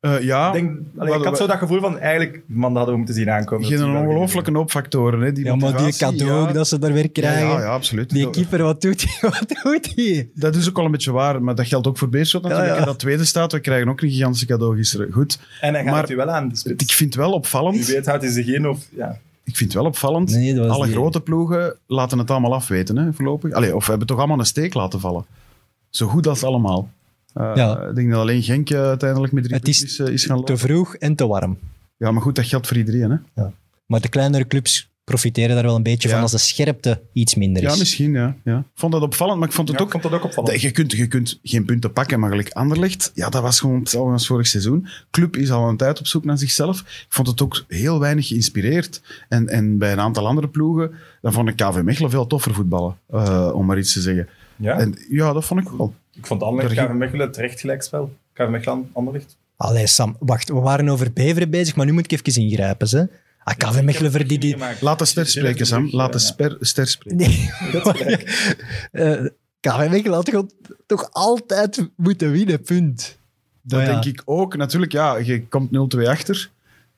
Speaker 3: eh, ja,
Speaker 1: Ik, denk, allee, ik
Speaker 3: Wat-
Speaker 1: had zo dat gevoel van, eigenlijk, man, dat hadden we moeten zien aankomen.
Speaker 3: je hebt een ongelooflijke hoopfactoren. Hè? Die
Speaker 2: Ja, maar die
Speaker 3: motivatie,
Speaker 2: cadeau
Speaker 3: ja.
Speaker 2: ook dat ze daar weer krijgen.
Speaker 3: Ja, ja, ja, absoluut.
Speaker 2: Die
Speaker 3: Dat-
Speaker 2: keeper, wat doet hij? Wat doet hij?
Speaker 3: Dat is ook al een beetje waar, maar dat geldt ook voor Beerschot natuurlijk.
Speaker 2: ja.
Speaker 3: En dat tweede staat, we krijgen ook een gigantische cadeau gisteren. Goed,
Speaker 1: En hij gaat
Speaker 3: Maar-
Speaker 1: het u wel aan. Dus
Speaker 3: ik vind wel opvallend.
Speaker 1: wie weet houdt hij zich in of... Ja.
Speaker 3: Ik vind wel opvallend.
Speaker 2: Nee, dat was
Speaker 3: alle
Speaker 2: die-
Speaker 3: grote ploegen laten het allemaal afweten, hè, voorlopig. Allee, of hebben toch allemaal een steek laten vallen. Zo goed als allemaal. Eh,
Speaker 2: Ja.
Speaker 3: Ik denk dat alleen Genk eh, uiteindelijk met drie
Speaker 2: Het is
Speaker 3: puntjes, eh, is gaan lopen.
Speaker 2: Te vroeg en te warm.
Speaker 3: Ja, maar goed, dat geldt voor iedereen. Hè?
Speaker 2: Maar de kleinere clubs profiteren daar wel een beetje
Speaker 3: Ja.
Speaker 2: van als de scherpte iets minder is.
Speaker 3: Ja, misschien, ja. ja. Ik vond dat opvallend, maar ik vond het
Speaker 1: Ja,
Speaker 3: ook...
Speaker 1: ik vond dat ook opvallend.
Speaker 3: dat- Je kunt, je kunt geen punten pakken, maar gelijk Anderlecht, ja, dat was gewoon hetzelfde als vorig seizoen. Club is al een tijd op zoek naar zichzelf. Ik vond het ook heel weinig geïnspireerd. En, en bij een aantal andere ploegen, dan vond ik KV Mechelen veel toffer voetballen, eh, om maar iets te zeggen.
Speaker 1: Ja.
Speaker 3: En, ja, dat vond ik wel.
Speaker 1: Ik vond Anderlecht,
Speaker 3: Daar
Speaker 1: KV Mechelen, terecht gelijkspel. KV Mechelen, Anderlecht.
Speaker 2: Allee, Sam, wacht, we waren over Beveren bezig, maar nu moet ik even ingrijpen. Hè? Ah, KV Mechelen verdient die...
Speaker 3: Laat de ster spreken, Sam. Laat de sper- ster spreken.
Speaker 2: Nee,
Speaker 1: Dat is gelijk.
Speaker 2: eh, KV Mechelen had toch, toch altijd moeten winnen, punt.
Speaker 3: Dat
Speaker 2: Maar ja.
Speaker 3: denk ik ook. Natuurlijk, ja, je komt 0-2 achter.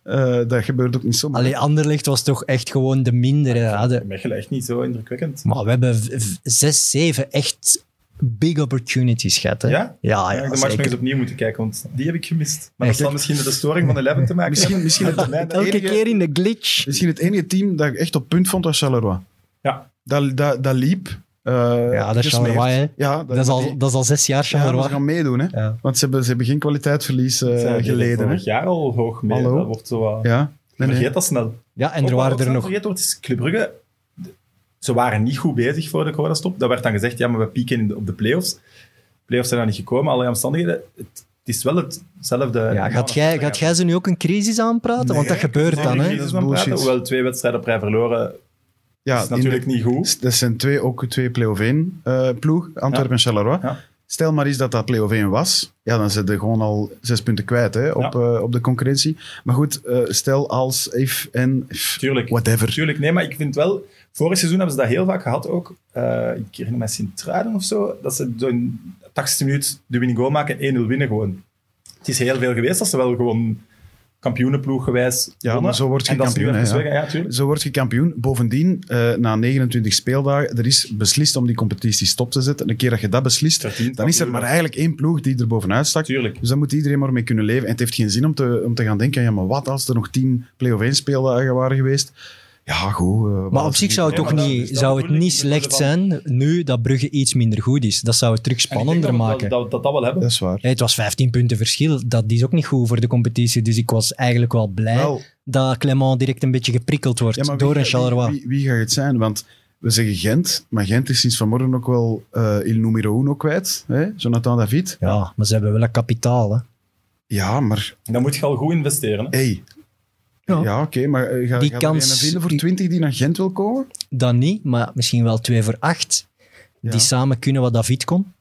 Speaker 3: Eh, dat gebeurt ook niet zomaar.
Speaker 2: Allee, Anderlecht was toch echt gewoon de mindere. Hadden-
Speaker 1: Mechelen echt niet zo indrukwekkend.
Speaker 2: Maar we hebben v- v- zes, zeven echt big opportunities gehad. Hè?
Speaker 1: Ja?
Speaker 2: Ja,
Speaker 1: Ja,
Speaker 2: Ah ja,
Speaker 1: ik heb de match nog eens
Speaker 2: zeker.
Speaker 1: opnieuw moeten kijken, want die heb ik gemist. Maar
Speaker 2: Echt?
Speaker 1: dat zal misschien met de storing van de Eleven te maken
Speaker 3: Misschien,
Speaker 1: hebben. eh,
Speaker 3: misschien, het,
Speaker 1: Mijn-
Speaker 2: Elke
Speaker 3: enige-
Speaker 2: keer in de glitch.
Speaker 3: misschien het enige team dat ik echt op punt vond was Charleroi.
Speaker 1: Ja.
Speaker 3: Dat, dat, dat liep. eh,
Speaker 2: Ja, dat is
Speaker 3: gesmeerd.
Speaker 2: Charleroi, hè.
Speaker 3: Ja,
Speaker 2: Dat is al, dat is al zes jaar
Speaker 3: Ja,
Speaker 2: Charleroi.
Speaker 3: ze gaan meedoen, hè.
Speaker 2: Ja.
Speaker 3: Want ze hebben, ze hebben geen kwaliteitsverlies eh,
Speaker 1: Zij deden
Speaker 3: geleden, hè.
Speaker 1: Vorig jaar al hoog mee.
Speaker 3: Hallo?
Speaker 1: Dat wordt zo wat...
Speaker 3: Ja. Nee, nee.
Speaker 1: Vergeet dat snel.
Speaker 2: Ja, en
Speaker 1: Ook wat
Speaker 2: er waren
Speaker 1: ook
Speaker 2: er
Speaker 1: snel
Speaker 2: nog...
Speaker 1: Vergeten wordt, is Club Brugge... Ze waren niet goed bezig voor de coronastop. Dat werd dan gezegd, ja, maar we pieken in de- op de play-offs. Play-offs zijn dan niet gekomen, allerlei omstandigheden. Het, het is wel hetzelfde...
Speaker 2: Ja, gaat jij, gaat jij ze nu ook een crisis aanpraten? Want dat gebeurt
Speaker 1: Nee,
Speaker 2: dan,
Speaker 1: de
Speaker 2: hè?
Speaker 1: crisis
Speaker 3: Dat is
Speaker 1: aan praten,
Speaker 3: bullshit.
Speaker 1: Hoewel twee wedstrijden op rij verloren,
Speaker 3: Ja,
Speaker 1: is
Speaker 3: in-
Speaker 1: natuurlijk niet goed.
Speaker 3: Dat zijn twee, ook twee play-off 1 eh, ploeg, Antwerpen
Speaker 1: Ja.
Speaker 3: en Charleroi.
Speaker 1: Ja.
Speaker 3: Stel maar eens dat dat play-off 1 was. Ja, dan zit je gewoon al zes punten kwijt hè, op, eh, op de concurrentie. Maar goed, eh, stel als if en if,
Speaker 1: Tuurlijk.
Speaker 3: whatever.
Speaker 1: Tuurlijk, nee, maar ik vind wel... Vorig seizoen hebben ze dat heel vaak gehad ook. Eh, ik herinner me Sint-Truiden of zo. Dat ze in de 80ste minuut de winning goal maken en 1-0 winnen gewoon. Het is heel veel geweest. Dat ze wel gewoon kampioenenploeg gewijs wonnen.
Speaker 3: maar zo word je
Speaker 1: En dat ze nu
Speaker 3: kampioen,
Speaker 1: even
Speaker 3: hè,
Speaker 1: zeggen, ja, tuurlijk.
Speaker 3: Zo word je kampioen. Bovendien, eh, na 29 speeldagen, er is beslist om die competitie stop te zetten. En een keer dat je dat beslist,
Speaker 1: Verdient
Speaker 3: dan is er
Speaker 1: kampioen.
Speaker 3: maar eigenlijk één ploeg die er bovenuit stak.
Speaker 1: Tuurlijk.
Speaker 3: Dus daar moet iedereen maar mee kunnen leven. En het heeft geen zin om te, om te gaan denken, ja, maar wat als er nog tien play-off 1 speeldagen waren geweest? Ja, goed. eh, wat
Speaker 2: Maar op
Speaker 3: als
Speaker 2: zich
Speaker 3: er
Speaker 2: zou het
Speaker 1: Ja,
Speaker 2: toch
Speaker 1: maar dat-
Speaker 2: niet,
Speaker 1: dus dat
Speaker 2: zou het
Speaker 1: bedoel ik.
Speaker 2: niet
Speaker 1: Ik bedoel
Speaker 2: slecht
Speaker 1: van-
Speaker 2: zijn nu dat Brugge iets minder goed is. Dat zou het terug
Speaker 1: En ik denk
Speaker 2: spannender
Speaker 1: dat we
Speaker 2: maken.
Speaker 1: Dat, dat, dat dat wel hebben.
Speaker 3: Dat is waar.
Speaker 2: Hé, het was 15 punten verschil. Dat is ook niet goed voor de competitie. Dus ik was eigenlijk wel blij
Speaker 3: Wel,
Speaker 2: dat Clement direct een beetje geprikkeld wordt
Speaker 3: ja, maar
Speaker 2: door een
Speaker 3: wie, ga-
Speaker 2: Charleroi.
Speaker 3: Wie, wie, wie gaat het zijn? Want we zeggen Gent, maar Gent is sinds vanmorgen ook wel eh Il Numero Uno kwijt. Hè? Jonathan David.
Speaker 2: Ja, maar ze hebben wel een kapitaal. Hè.
Speaker 3: Ja, maar
Speaker 1: Dan moet je al goed investeren. hè.
Speaker 3: hey,
Speaker 2: Ja.
Speaker 3: Ja, oké, maar eh, ga,
Speaker 2: Die
Speaker 3: gaat
Speaker 2: kans-
Speaker 3: er een vinden voor
Speaker 2: die-
Speaker 3: 20 die naar Gent wil komen?
Speaker 2: Dan niet, maar misschien wel twee voor acht.
Speaker 3: Ja.
Speaker 2: Die samen kunnen wat David kon.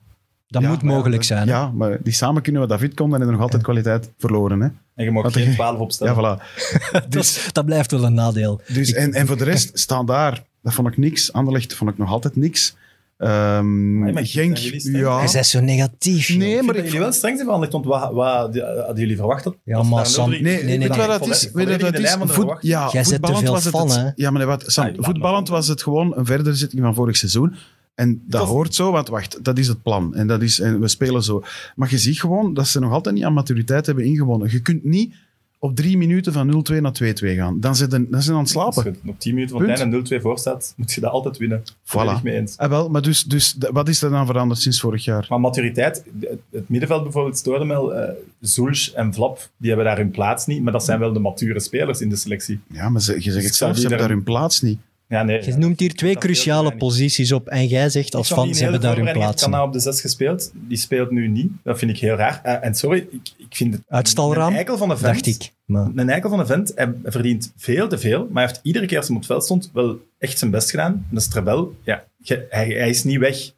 Speaker 2: Dat
Speaker 3: Ja,
Speaker 2: moet
Speaker 3: maar ja,
Speaker 2: mogelijk
Speaker 3: dat-
Speaker 2: zijn. hè.
Speaker 3: Ja, maar die samen kunnen we David komt, dan hebben we nog altijd kwaliteit verloren. Hè?
Speaker 1: En je mag
Speaker 3: Wat
Speaker 1: geen
Speaker 3: denk-
Speaker 1: 12 opstellen.
Speaker 3: Ja, voilà.
Speaker 2: Dus dat blijft wel een nadeel.
Speaker 3: Dus, en, en voor de rest, staan daar, dat vond ik niks. Anderlecht vond ik nog altijd niks. Ehm
Speaker 1: Maar je mag-
Speaker 3: Genk,
Speaker 1: zijn jullie streng?
Speaker 3: ja.
Speaker 2: Hij is zo negatief. joh.
Speaker 3: Nee,
Speaker 1: Ik
Speaker 3: maar
Speaker 1: vind dat
Speaker 3: ik
Speaker 1: jullie wel streng zijn van Anderlecht, want wat, wat die- hadden jullie verwacht? dat-
Speaker 2: Ja,
Speaker 1: dat ze
Speaker 2: maar
Speaker 1: daar
Speaker 2: Sam-
Speaker 1: 0-3
Speaker 3: Nee,
Speaker 2: nee,
Speaker 3: weet je
Speaker 2: nee.
Speaker 3: wat dat
Speaker 1: Volledig-
Speaker 3: is? Weet je
Speaker 1: volledig in
Speaker 3: wat dat
Speaker 1: de
Speaker 3: is?
Speaker 1: lijn van de
Speaker 3: Voet-
Speaker 1: verwachting.
Speaker 3: ja,
Speaker 2: Jij zet te
Speaker 3: voetballend
Speaker 2: veel
Speaker 3: was het,
Speaker 2: van,
Speaker 3: het-
Speaker 2: hè?
Speaker 3: Ja, maar wat, Sam,
Speaker 1: Ah, laat maar.
Speaker 3: voetballend was het gewoon een verderzetting van vorig seizoen. En dat
Speaker 1: Toch?
Speaker 3: hoort zo, want wacht, dat is het plan. En, dat is, en we spelen zo. Maar je ziet gewoon dat ze nog altijd niet aan maturiteit hebben ingewonnen. Je kunt niet op drie minuten van 0-2 naar 2-2 gaan. Dan zijn dan zijn aan het
Speaker 1: Als
Speaker 3: slapen.
Speaker 1: je Dus op 10 minuten van het
Speaker 3: Punt.
Speaker 1: einde 0-2 voor staat, moet je dat altijd winnen.
Speaker 3: Voilà.
Speaker 1: Volledig mee eens.
Speaker 3: Ah, wel, maar dus, dus d- wat is er dan veranderd sinds vorig jaar?
Speaker 1: Maar maturiteit, het- het middenveld bijvoorbeeld, stoorde me al, eh, Zulch en Vlap, die hebben daar hun plaats niet, maar dat zijn wel de mature spelers in de selectie.
Speaker 3: Ja, maar ze, je zegt
Speaker 1: Dus Ik
Speaker 3: het
Speaker 1: zou
Speaker 3: zelf, ze
Speaker 1: die
Speaker 3: hebben daar
Speaker 1: daar-
Speaker 3: hun plaats niet.
Speaker 1: Ja, nee.
Speaker 2: Je noemt hier twee
Speaker 1: Dat speelt
Speaker 2: cruciale
Speaker 1: weinig.
Speaker 2: posities op en jij zegt als van, ze hebben daar hun plaats.
Speaker 1: Kanaal
Speaker 2: in.
Speaker 1: op de 6 gespeeld, die speelt nu niet. Dat vind ik heel raar. Eh, en sorry, ik, ik vind het
Speaker 2: Uitstalraam,
Speaker 1: een eikel van de vent.
Speaker 2: Dacht ik. Maar
Speaker 1: Een eikel van een vent, hij verdient veel te veel, maar hij heeft iedere keer als hij op het veld stond wel echt zijn best gedaan. En dat is Trebel, ja, je- hij, hij is niet weg.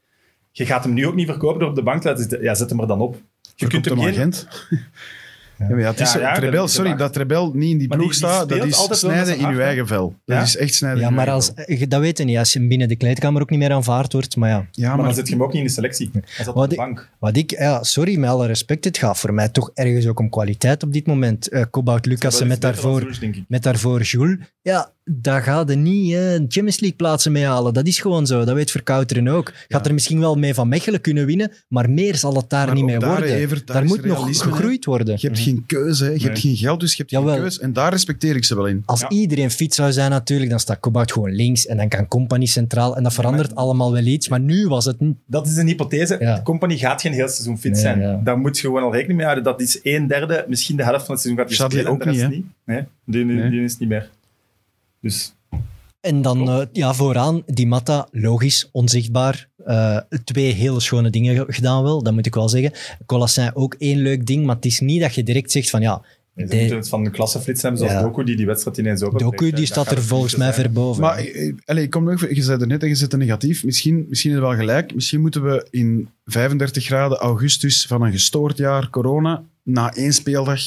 Speaker 1: Je gaat hem nu ook niet verkopen door op de bank te laten zitten. Ja, zet hem er dan op. Je kunt hem geen...
Speaker 3: agent. Ja, maar ja, het is,
Speaker 1: Ja, ja,
Speaker 3: Trebel,
Speaker 1: dat is
Speaker 3: sorry,
Speaker 1: waar.
Speaker 3: dat Trebel niet in die
Speaker 1: Maar
Speaker 3: ploeg
Speaker 1: die- die
Speaker 3: staat, dat
Speaker 1: speelt
Speaker 3: is
Speaker 1: altijd wel met
Speaker 3: snijden
Speaker 1: zijn
Speaker 3: in uw
Speaker 1: hart,
Speaker 3: eigen vel.
Speaker 1: Ja.
Speaker 3: Dat is echt snijden
Speaker 2: ja,
Speaker 3: in uw
Speaker 2: maar
Speaker 3: eigen
Speaker 2: als, eh, dat weet je niet, als je binnen de kleedkamer ook niet meer aanvaard wordt. Maar ja,
Speaker 3: vel. Ja,
Speaker 1: Maar
Speaker 3: maar,
Speaker 1: dan zit je hem ook niet in de selectie. Hij zat
Speaker 2: Wat
Speaker 1: op de
Speaker 2: ik-
Speaker 1: bank.
Speaker 2: wat ik, ja, sorry, met alle respect, het gaat voor mij toch ergens ook om kwaliteit op dit moment. Eh Kobout Lucassen met daarvoor, met daarvoor Jules. Ja, daar ga je niet eh, Champions League plaatsen mee halen. Dat is gewoon zo, dat weet Verkouteren ook. Gaat
Speaker 3: Ja.
Speaker 2: er misschien wel mee van Mechelen kunnen winnen, maar meer zal het daar
Speaker 3: Maar
Speaker 2: niet
Speaker 3: ook
Speaker 2: mee
Speaker 3: daar,
Speaker 2: worden.
Speaker 3: Evert, daar
Speaker 2: daar
Speaker 3: is
Speaker 2: moet nog
Speaker 3: realisme, hè.
Speaker 2: gegroeid worden.
Speaker 3: je hebt geen keuze, hè. je hebt
Speaker 1: Nee.
Speaker 3: geen geld, dus je hebt
Speaker 2: Jawel.
Speaker 3: geen keuze. En daar respecteer ik ze wel in.
Speaker 2: Als
Speaker 1: Ja.
Speaker 2: iedereen fit zou zijn natuurlijk, dan staat Kobout gewoon links en dan kan Company centraal en dat verandert allemaal wel iets. Maar nu was het niet.
Speaker 1: Dat is een hypothese.
Speaker 2: Ja.
Speaker 1: De company gaat geen heel seizoen fit
Speaker 2: Nee,
Speaker 1: zijn.
Speaker 2: ja.
Speaker 1: Daar moet je gewoon al rekening mee houden. Dat is een derde, misschien de helft van het seizoen gaat hij
Speaker 3: Chadli
Speaker 1: spelen. en
Speaker 3: ook
Speaker 1: de rest
Speaker 3: niet,
Speaker 1: Nee, die, die-
Speaker 3: Nee.
Speaker 1: die is niet meer. Dus
Speaker 2: En dan eh, ja, vooraan, die Matta, logisch, onzichtbaar. Eh, twee hele schone dingen ge- gedaan wel, dat moet ik wel zeggen. Colassin ook één leuk ding, maar het is niet dat je direct zegt van ja,
Speaker 1: nee, ze
Speaker 2: de-
Speaker 1: moeten het van een klasseflits hebben, zoals
Speaker 2: Ja.
Speaker 1: Doku, die die wedstrijd ineens open.
Speaker 2: Doku die staat er volgens mij ver boven.
Speaker 3: Maar eh, eh, allee, kom nog, even- je zei er net en je zit er negatief. Misschien, misschien is het wel gelijk. Misschien moeten we in 35 graden augustus van een gestoord jaar corona na één speeldag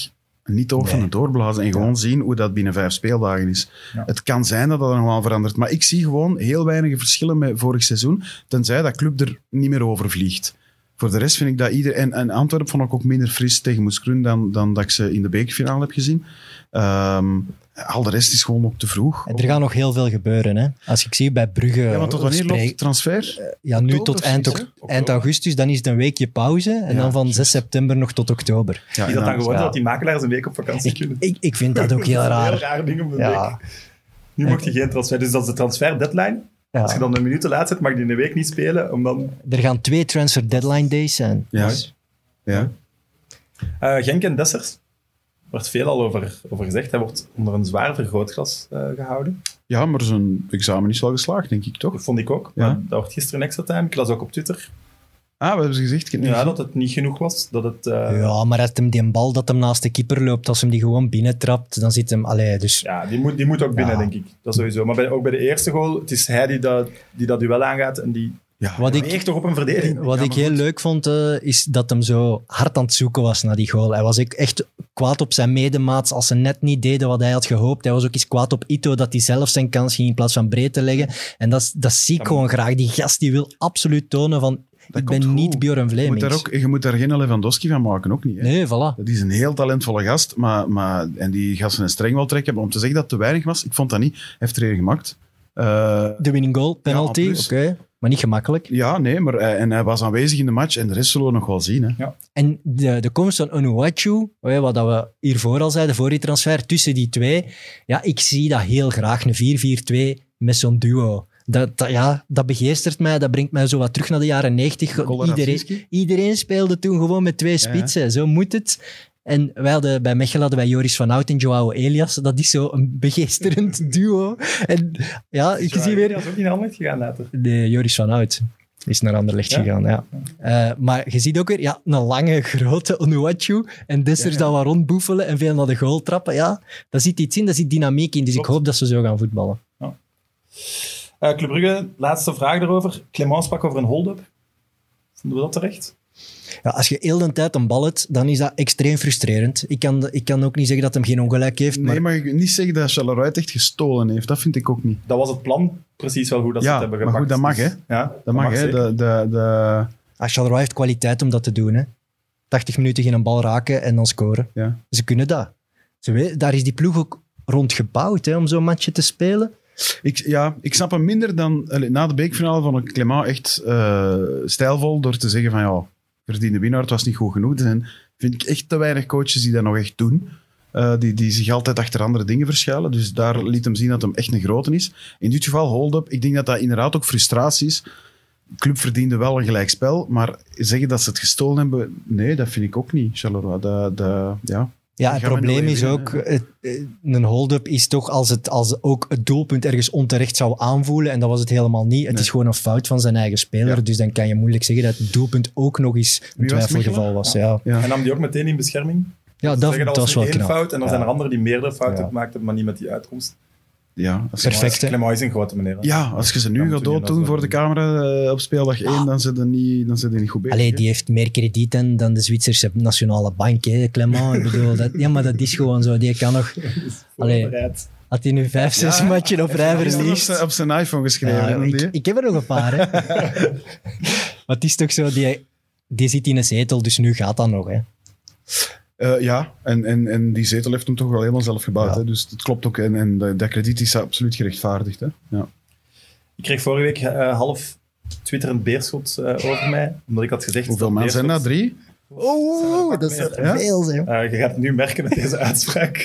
Speaker 3: niet over van
Speaker 2: Nee.
Speaker 3: het doorblazen en gewoon zien hoe dat binnen vijf speeldagen is.
Speaker 1: Ja.
Speaker 3: Het kan zijn dat dat er nog wel verandert, maar ik zie gewoon heel weinige verschillen met vorig seizoen, tenzij dat club er niet meer over vliegt. Voor de rest vind ik dat ieder... En, en Antwerpen vond ik ook minder fris tegen Moeskroen dan, dan dat ik ze in de bekerfinale heb gezien. Ehm, al de rest is gewoon nog te vroeg.
Speaker 2: En er gaat nog heel veel gebeuren. Hè. Als ik zie bij Brugge...
Speaker 3: Ja, want tot wanneer
Speaker 2: spreek-
Speaker 3: loopt de transfer?
Speaker 2: Ja, nu
Speaker 3: Oktober
Speaker 2: tot eind,
Speaker 3: zoiets,
Speaker 2: oct-
Speaker 1: hè?
Speaker 2: eind augustus, dan is het een weekje pauze. En
Speaker 3: Ja,
Speaker 2: dan van 6 september nog tot oktober.
Speaker 3: Ja,
Speaker 1: Is dat dan
Speaker 3: inderdaad.
Speaker 1: gewoon
Speaker 2: ja.
Speaker 1: dat die makelaars een week op vakantie kunnen?
Speaker 2: Ik, ik vind dat ook heel
Speaker 1: Dat is een heel
Speaker 2: raar.
Speaker 1: raar ding om de
Speaker 2: Ja,
Speaker 1: week. Nu mocht hij geen transfer. Dus dat is de transfer deadline. Als je
Speaker 2: ja.
Speaker 1: dan een minuut te laat zit, mag die in de week niet spelen. Om dan
Speaker 2: Er gaan twee transfer deadline days zijn.
Speaker 3: Ja.
Speaker 2: Dus-
Speaker 3: Ja.
Speaker 1: Eh, Genk en Dessers. Er wordt veel al over, over gezegd. Hij wordt onder een zwaar vergrootglas eh, gehouden.
Speaker 3: ja, maar zijn examen is wel geslaagd, denk ik, toch?
Speaker 1: Dat vond ik ook.
Speaker 3: Ja.
Speaker 1: Maar dat wordt gisteren een extra time. Ik las ook op Twitter
Speaker 3: Ah, we hebben ze gezegd. Ik heb het niet
Speaker 1: ja,
Speaker 3: gezien.
Speaker 1: dat het niet genoeg was. Dat het, eh, ja.
Speaker 2: Ja, maar als hem die bal dat hem naast de keeper loopt, als hem die gewoon binnentrapt, dan zit hem... Allee, dus
Speaker 1: die, moet, die moet ook binnen,
Speaker 2: Ja.
Speaker 1: denk ik. Dat sowieso. Maar bij, ook bij de eerste goal, het is hij die dat, die dat duel aangaat. En die
Speaker 3: Ja,
Speaker 2: Wat
Speaker 3: ja.
Speaker 2: ik-
Speaker 1: echt toch op een verdediging.
Speaker 2: Wat ik heel leuk vond, eh, is dat hem zo hard aan het zoeken was naar die goal. Hij was ook echt kwaad op zijn medemaats als ze net niet deden wat hij had gehoopt. Hij was ook eens kwaad op Ito dat hij zelf zijn kans ging in plaats van breed te leggen. En dat, is- dat zie ik
Speaker 1: Ja,
Speaker 2: gewoon graag. Die gast die wil absoluut tonen van, ik ben
Speaker 3: komt goed.
Speaker 2: niet Björn
Speaker 3: je, moet
Speaker 2: Vlemings.
Speaker 3: daar ook, je moet daar geen Lewandowski van maken, ook niet. Hè?
Speaker 2: Nee, voilà.
Speaker 3: Dat is een heel talentvolle gast, maar, maar, en die gaat zijn streng wel trekken. Maar om te zeggen dat het te weinig was, ik vond dat niet. Hij heeft er een gemaakt. Eh,
Speaker 2: De winning goal, penalty,
Speaker 3: Ja,
Speaker 2: oké.
Speaker 3: plus.
Speaker 2: Maar niet gemakkelijk.
Speaker 3: ja, nee, maar hij- en hij was aanwezig in de match en de rest zullen we nog wel zien. Hè.
Speaker 2: En de, de komst van Onuwachu, hè, wat dat we hiervoor al zeiden, voor die transfer, tussen die twee. Ja, ik zie dat heel graag, een 4-4-2 met zo'n duo. Dat, dat- ja, dat begeestert mij, dat brengt mij zo wat terug naar de jaren 90. Iedereen,
Speaker 3: Kolarowski?
Speaker 2: iedereen speelde toen gewoon met twee
Speaker 3: ja.
Speaker 2: spitsen, zo moet het. En wij hadden, bij Mechelen hadden wij Joris van Hout en Joao Elias. Dat is zo een begeesterend duo. En ja, ik zie weer...
Speaker 1: Dat is ook niet handig gegaan later.
Speaker 2: Nee, Joris van Hout. Is naar Anderlecht
Speaker 1: Ja?
Speaker 2: gegaan, ja. Eh, maar je ziet ook weer, ja, een lange, grote Onuachu. En Dessers
Speaker 1: Ja, ja.
Speaker 2: dat wat rondboefelen en veel naar de goal trappen. Ja, daar zit iets in, daar zit dynamiek in. Dus ik
Speaker 1: Klopt.
Speaker 2: hoop dat ze zo gaan voetballen.
Speaker 1: Eh, Club Brugge, laatste vraag daarover. Clemens sprak over een hold-up. Vonden we dat terecht?
Speaker 2: Ja, als je heel de tijd een bal hebt, dan is dat extreem frustrerend. Ik kan, ik kan ook niet zeggen dat hem geen ongelijk heeft, maar
Speaker 3: Nee, maar ik wil niet zeggen dat Charleroi echt gestolen heeft. Dat vind ik ook niet.
Speaker 1: Dat was het plan precies wel hoe dat ze
Speaker 3: Ja,
Speaker 1: het hebben
Speaker 3: maar
Speaker 1: gepakt.
Speaker 3: goed, dat mag,
Speaker 1: Dus,
Speaker 3: hè?
Speaker 1: Ja,
Speaker 3: Dat mag, hè.
Speaker 1: zeker.
Speaker 3: De, de, de,
Speaker 2: Ah, Charleroi heeft kwaliteit om dat te doen. Hè. 80 minuten geen bal raken en dan scoren.
Speaker 3: Ja.
Speaker 2: Ze kunnen dat. Ze we- daar is die ploeg ook rond gebouwd hè, om zo'n matchje te spelen.
Speaker 3: Ik, ja, ik snap hem minder dan... allee, Na de beekfinale vond ik Clément echt eh, stijlvol door te zeggen van ja, verdiende winnaar, het was niet goed genoeg. Er zijn, vind ik echt te weinig coaches die dat nog echt doen. Eh, die, die zich altijd achter andere dingen verschuilen. Dus daar liet hem zien dat hem echt een grote is. In dit geval hold-up. Ik denk dat dat inderdaad ook frustratie is. De club verdiende wel een gelijkspel, maar zeggen dat ze het gestolen hebben... Nee, dat vind ik ook niet, Charleroi. Dat, dat, ja.
Speaker 2: Ja, het
Speaker 3: Die gaan we
Speaker 2: probleem
Speaker 3: nooit
Speaker 2: is
Speaker 3: winnen,
Speaker 2: ook,
Speaker 3: hè.
Speaker 2: het- eh, een hold-up is toch als, het, als ook het doelpunt ergens onterecht zou aanvoelen. En dat was het helemaal niet. Het
Speaker 3: Nee.
Speaker 2: is gewoon een fout van zijn eigen speler.
Speaker 3: Ja.
Speaker 2: Dus dan kan je moeilijk zeggen dat het doelpunt ook nog eens een
Speaker 3: Wie was het,
Speaker 2: twijfelgeval
Speaker 3: Mechelen?
Speaker 2: was. Ja,
Speaker 3: Ja.
Speaker 1: En nam die ook meteen in bescherming.
Speaker 2: ja
Speaker 1: Ze
Speaker 2: dat,
Speaker 1: zeggen,
Speaker 2: dat
Speaker 1: dat
Speaker 2: was
Speaker 1: was één
Speaker 2: wel knap.
Speaker 1: fout en dan zijn
Speaker 2: Ja.
Speaker 1: er anderen die meerdere fouten
Speaker 2: Ja.
Speaker 1: gemaakt hebben, maar niet met die uitkomst.
Speaker 3: ja als je-
Speaker 2: Perfect, hè?
Speaker 1: Clement is een grote meneer. hè?
Speaker 3: Ja, als je ze nu
Speaker 1: Dan
Speaker 3: gaat
Speaker 1: moet je die
Speaker 3: dooddoen
Speaker 1: dan
Speaker 3: voor de
Speaker 1: doen.
Speaker 3: camera eh, op speeldag 1, dan zit je niet, dan zit je niet goed bezig.
Speaker 2: Ah. Allee,
Speaker 3: hè.
Speaker 2: die heeft meer krediet dan, dan de Zwitserse nationale bank, hè, Clement. Ik bedoel, dat, ja, maar dat is gewoon zo. Die kan nog... Allee,
Speaker 1: Voorbereid.
Speaker 2: had hij nu vijf, zes
Speaker 3: Ja,
Speaker 2: matchen op rij
Speaker 3: Hij heeft dat op
Speaker 2: verliest?
Speaker 3: zijn- op zijn iPhone geschreven.
Speaker 2: Ja,
Speaker 3: hè, dan
Speaker 2: ik,
Speaker 3: die.
Speaker 2: ik heb er nog een paar, hè. maar het is toch zo, die, die zit in een zetel, dus nu gaat dat nog, hè.
Speaker 3: Eh, ja, en, en, en die zetel heeft hem toch wel helemaal zelf gebouwd.
Speaker 2: Ja.
Speaker 3: Hè? Dus dat klopt ook. En, en dat, dat krediet is absoluut gerechtvaardigd. Hè? Ja.
Speaker 1: Ik kreeg vorige week eh, half Twitter een beerschot eh, over mij, omdat ik had gezegd...
Speaker 3: Hoeveel
Speaker 1: dat
Speaker 3: mensen zijn dat?
Speaker 1: beerschot-
Speaker 3: Drie?
Speaker 2: Oh,
Speaker 1: dat
Speaker 2: dat
Speaker 1: is
Speaker 2: is
Speaker 1: er
Speaker 3: Ja?
Speaker 2: veel,
Speaker 1: Eh, je gaat het nu merken met deze uitspraak.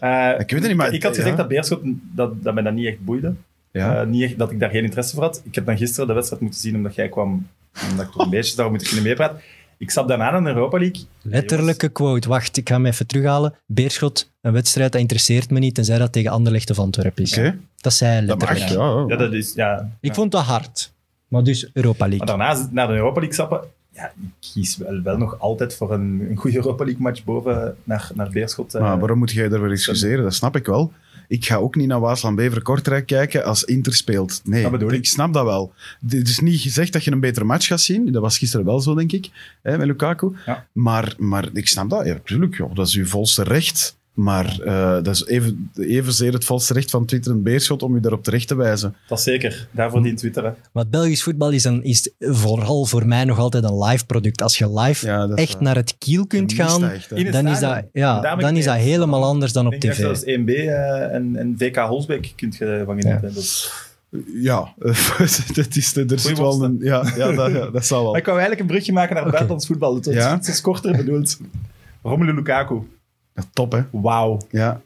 Speaker 1: Eh,
Speaker 3: Ik weet het niet, maar-
Speaker 1: Ik had gezegd
Speaker 3: ja.
Speaker 1: dat beerschot, dat, dat mij dat niet echt boeide.
Speaker 3: Ja.
Speaker 1: Eh, niet echt, dat ik daar geen interesse voor had. Ik heb dan gisteren de wedstrijd moeten zien omdat jij kwam. Omdat ik toch een beetje zou moeten kunnen meepraten. Ik zat daarna aan de Europa League.
Speaker 2: Letterlijke quote. Wacht, ik ga hem even terughalen. Beerschot, een wedstrijd, dat interesseert me niet, tenzij dat tegen Anderlecht of Antwerpen is.
Speaker 3: Oké,
Speaker 2: Dat zei hij
Speaker 3: dat mag.
Speaker 2: letterlijk.
Speaker 3: Ja.
Speaker 1: Ja, dat is, ja.
Speaker 2: Ik vond dat hard. Maar dus Europa
Speaker 1: Maar
Speaker 2: League.
Speaker 1: daarna, na de Europa League sappen, ja, ik kies wel, wel nog altijd voor een, een goede Europa League match boven naar, naar Beerschot. eh.
Speaker 3: Maar waarom moet jij daar weer excuseren? Dat snap ik wel. Ik ga ook niet naar Waasland-Bever-Kortrijk kijken als Inter speelt. Nee,
Speaker 1: Dat bedoel ik.
Speaker 3: snap dat wel. Het is niet gezegd dat je een betere match gaat zien. Dat was gisteren wel zo, denk ik, hè, met Lukaku.
Speaker 1: Ja.
Speaker 3: Maar, maar ik snap dat. Ja, tuurlijk, joh, dat is uw volste recht. Maar eh, dat is even, evenzeer het volste recht van Twitter en Beerschot om je daarop terecht te wijzen.
Speaker 1: Dat zeker. Daarvoor die Twitter. hè.
Speaker 2: Maar het Belgisch voetbal is, een, is vooral voor mij nog altijd een live product. Als je live
Speaker 3: Ja, dat is
Speaker 2: echt
Speaker 3: waar.
Speaker 2: naar het kiel kunt
Speaker 3: Je mist
Speaker 2: gaan,
Speaker 3: dat echt, hè.
Speaker 1: In het
Speaker 2: dan is, dat,
Speaker 1: stadion.
Speaker 2: ja,
Speaker 1: Daarmee
Speaker 2: dan is dat
Speaker 1: krijg je-
Speaker 2: helemaal anders dan op
Speaker 1: Ik denk
Speaker 2: tv.
Speaker 1: dat zelfs 1B eh, en, en VK Holsbeek kunt je van genieten. Dat is-
Speaker 3: Ja, dat is, er zit wel een... Ja, ja, dat, ja, dat zal wel.
Speaker 1: Maar ik wou eigenlijk een brugje maken naar het buitenlands voetbal. Dat
Speaker 3: Ja.
Speaker 1: is iets korter bedoeld. Romelu Lukaku.
Speaker 3: Ja, top, hè.
Speaker 1: Wauw.
Speaker 3: Ja,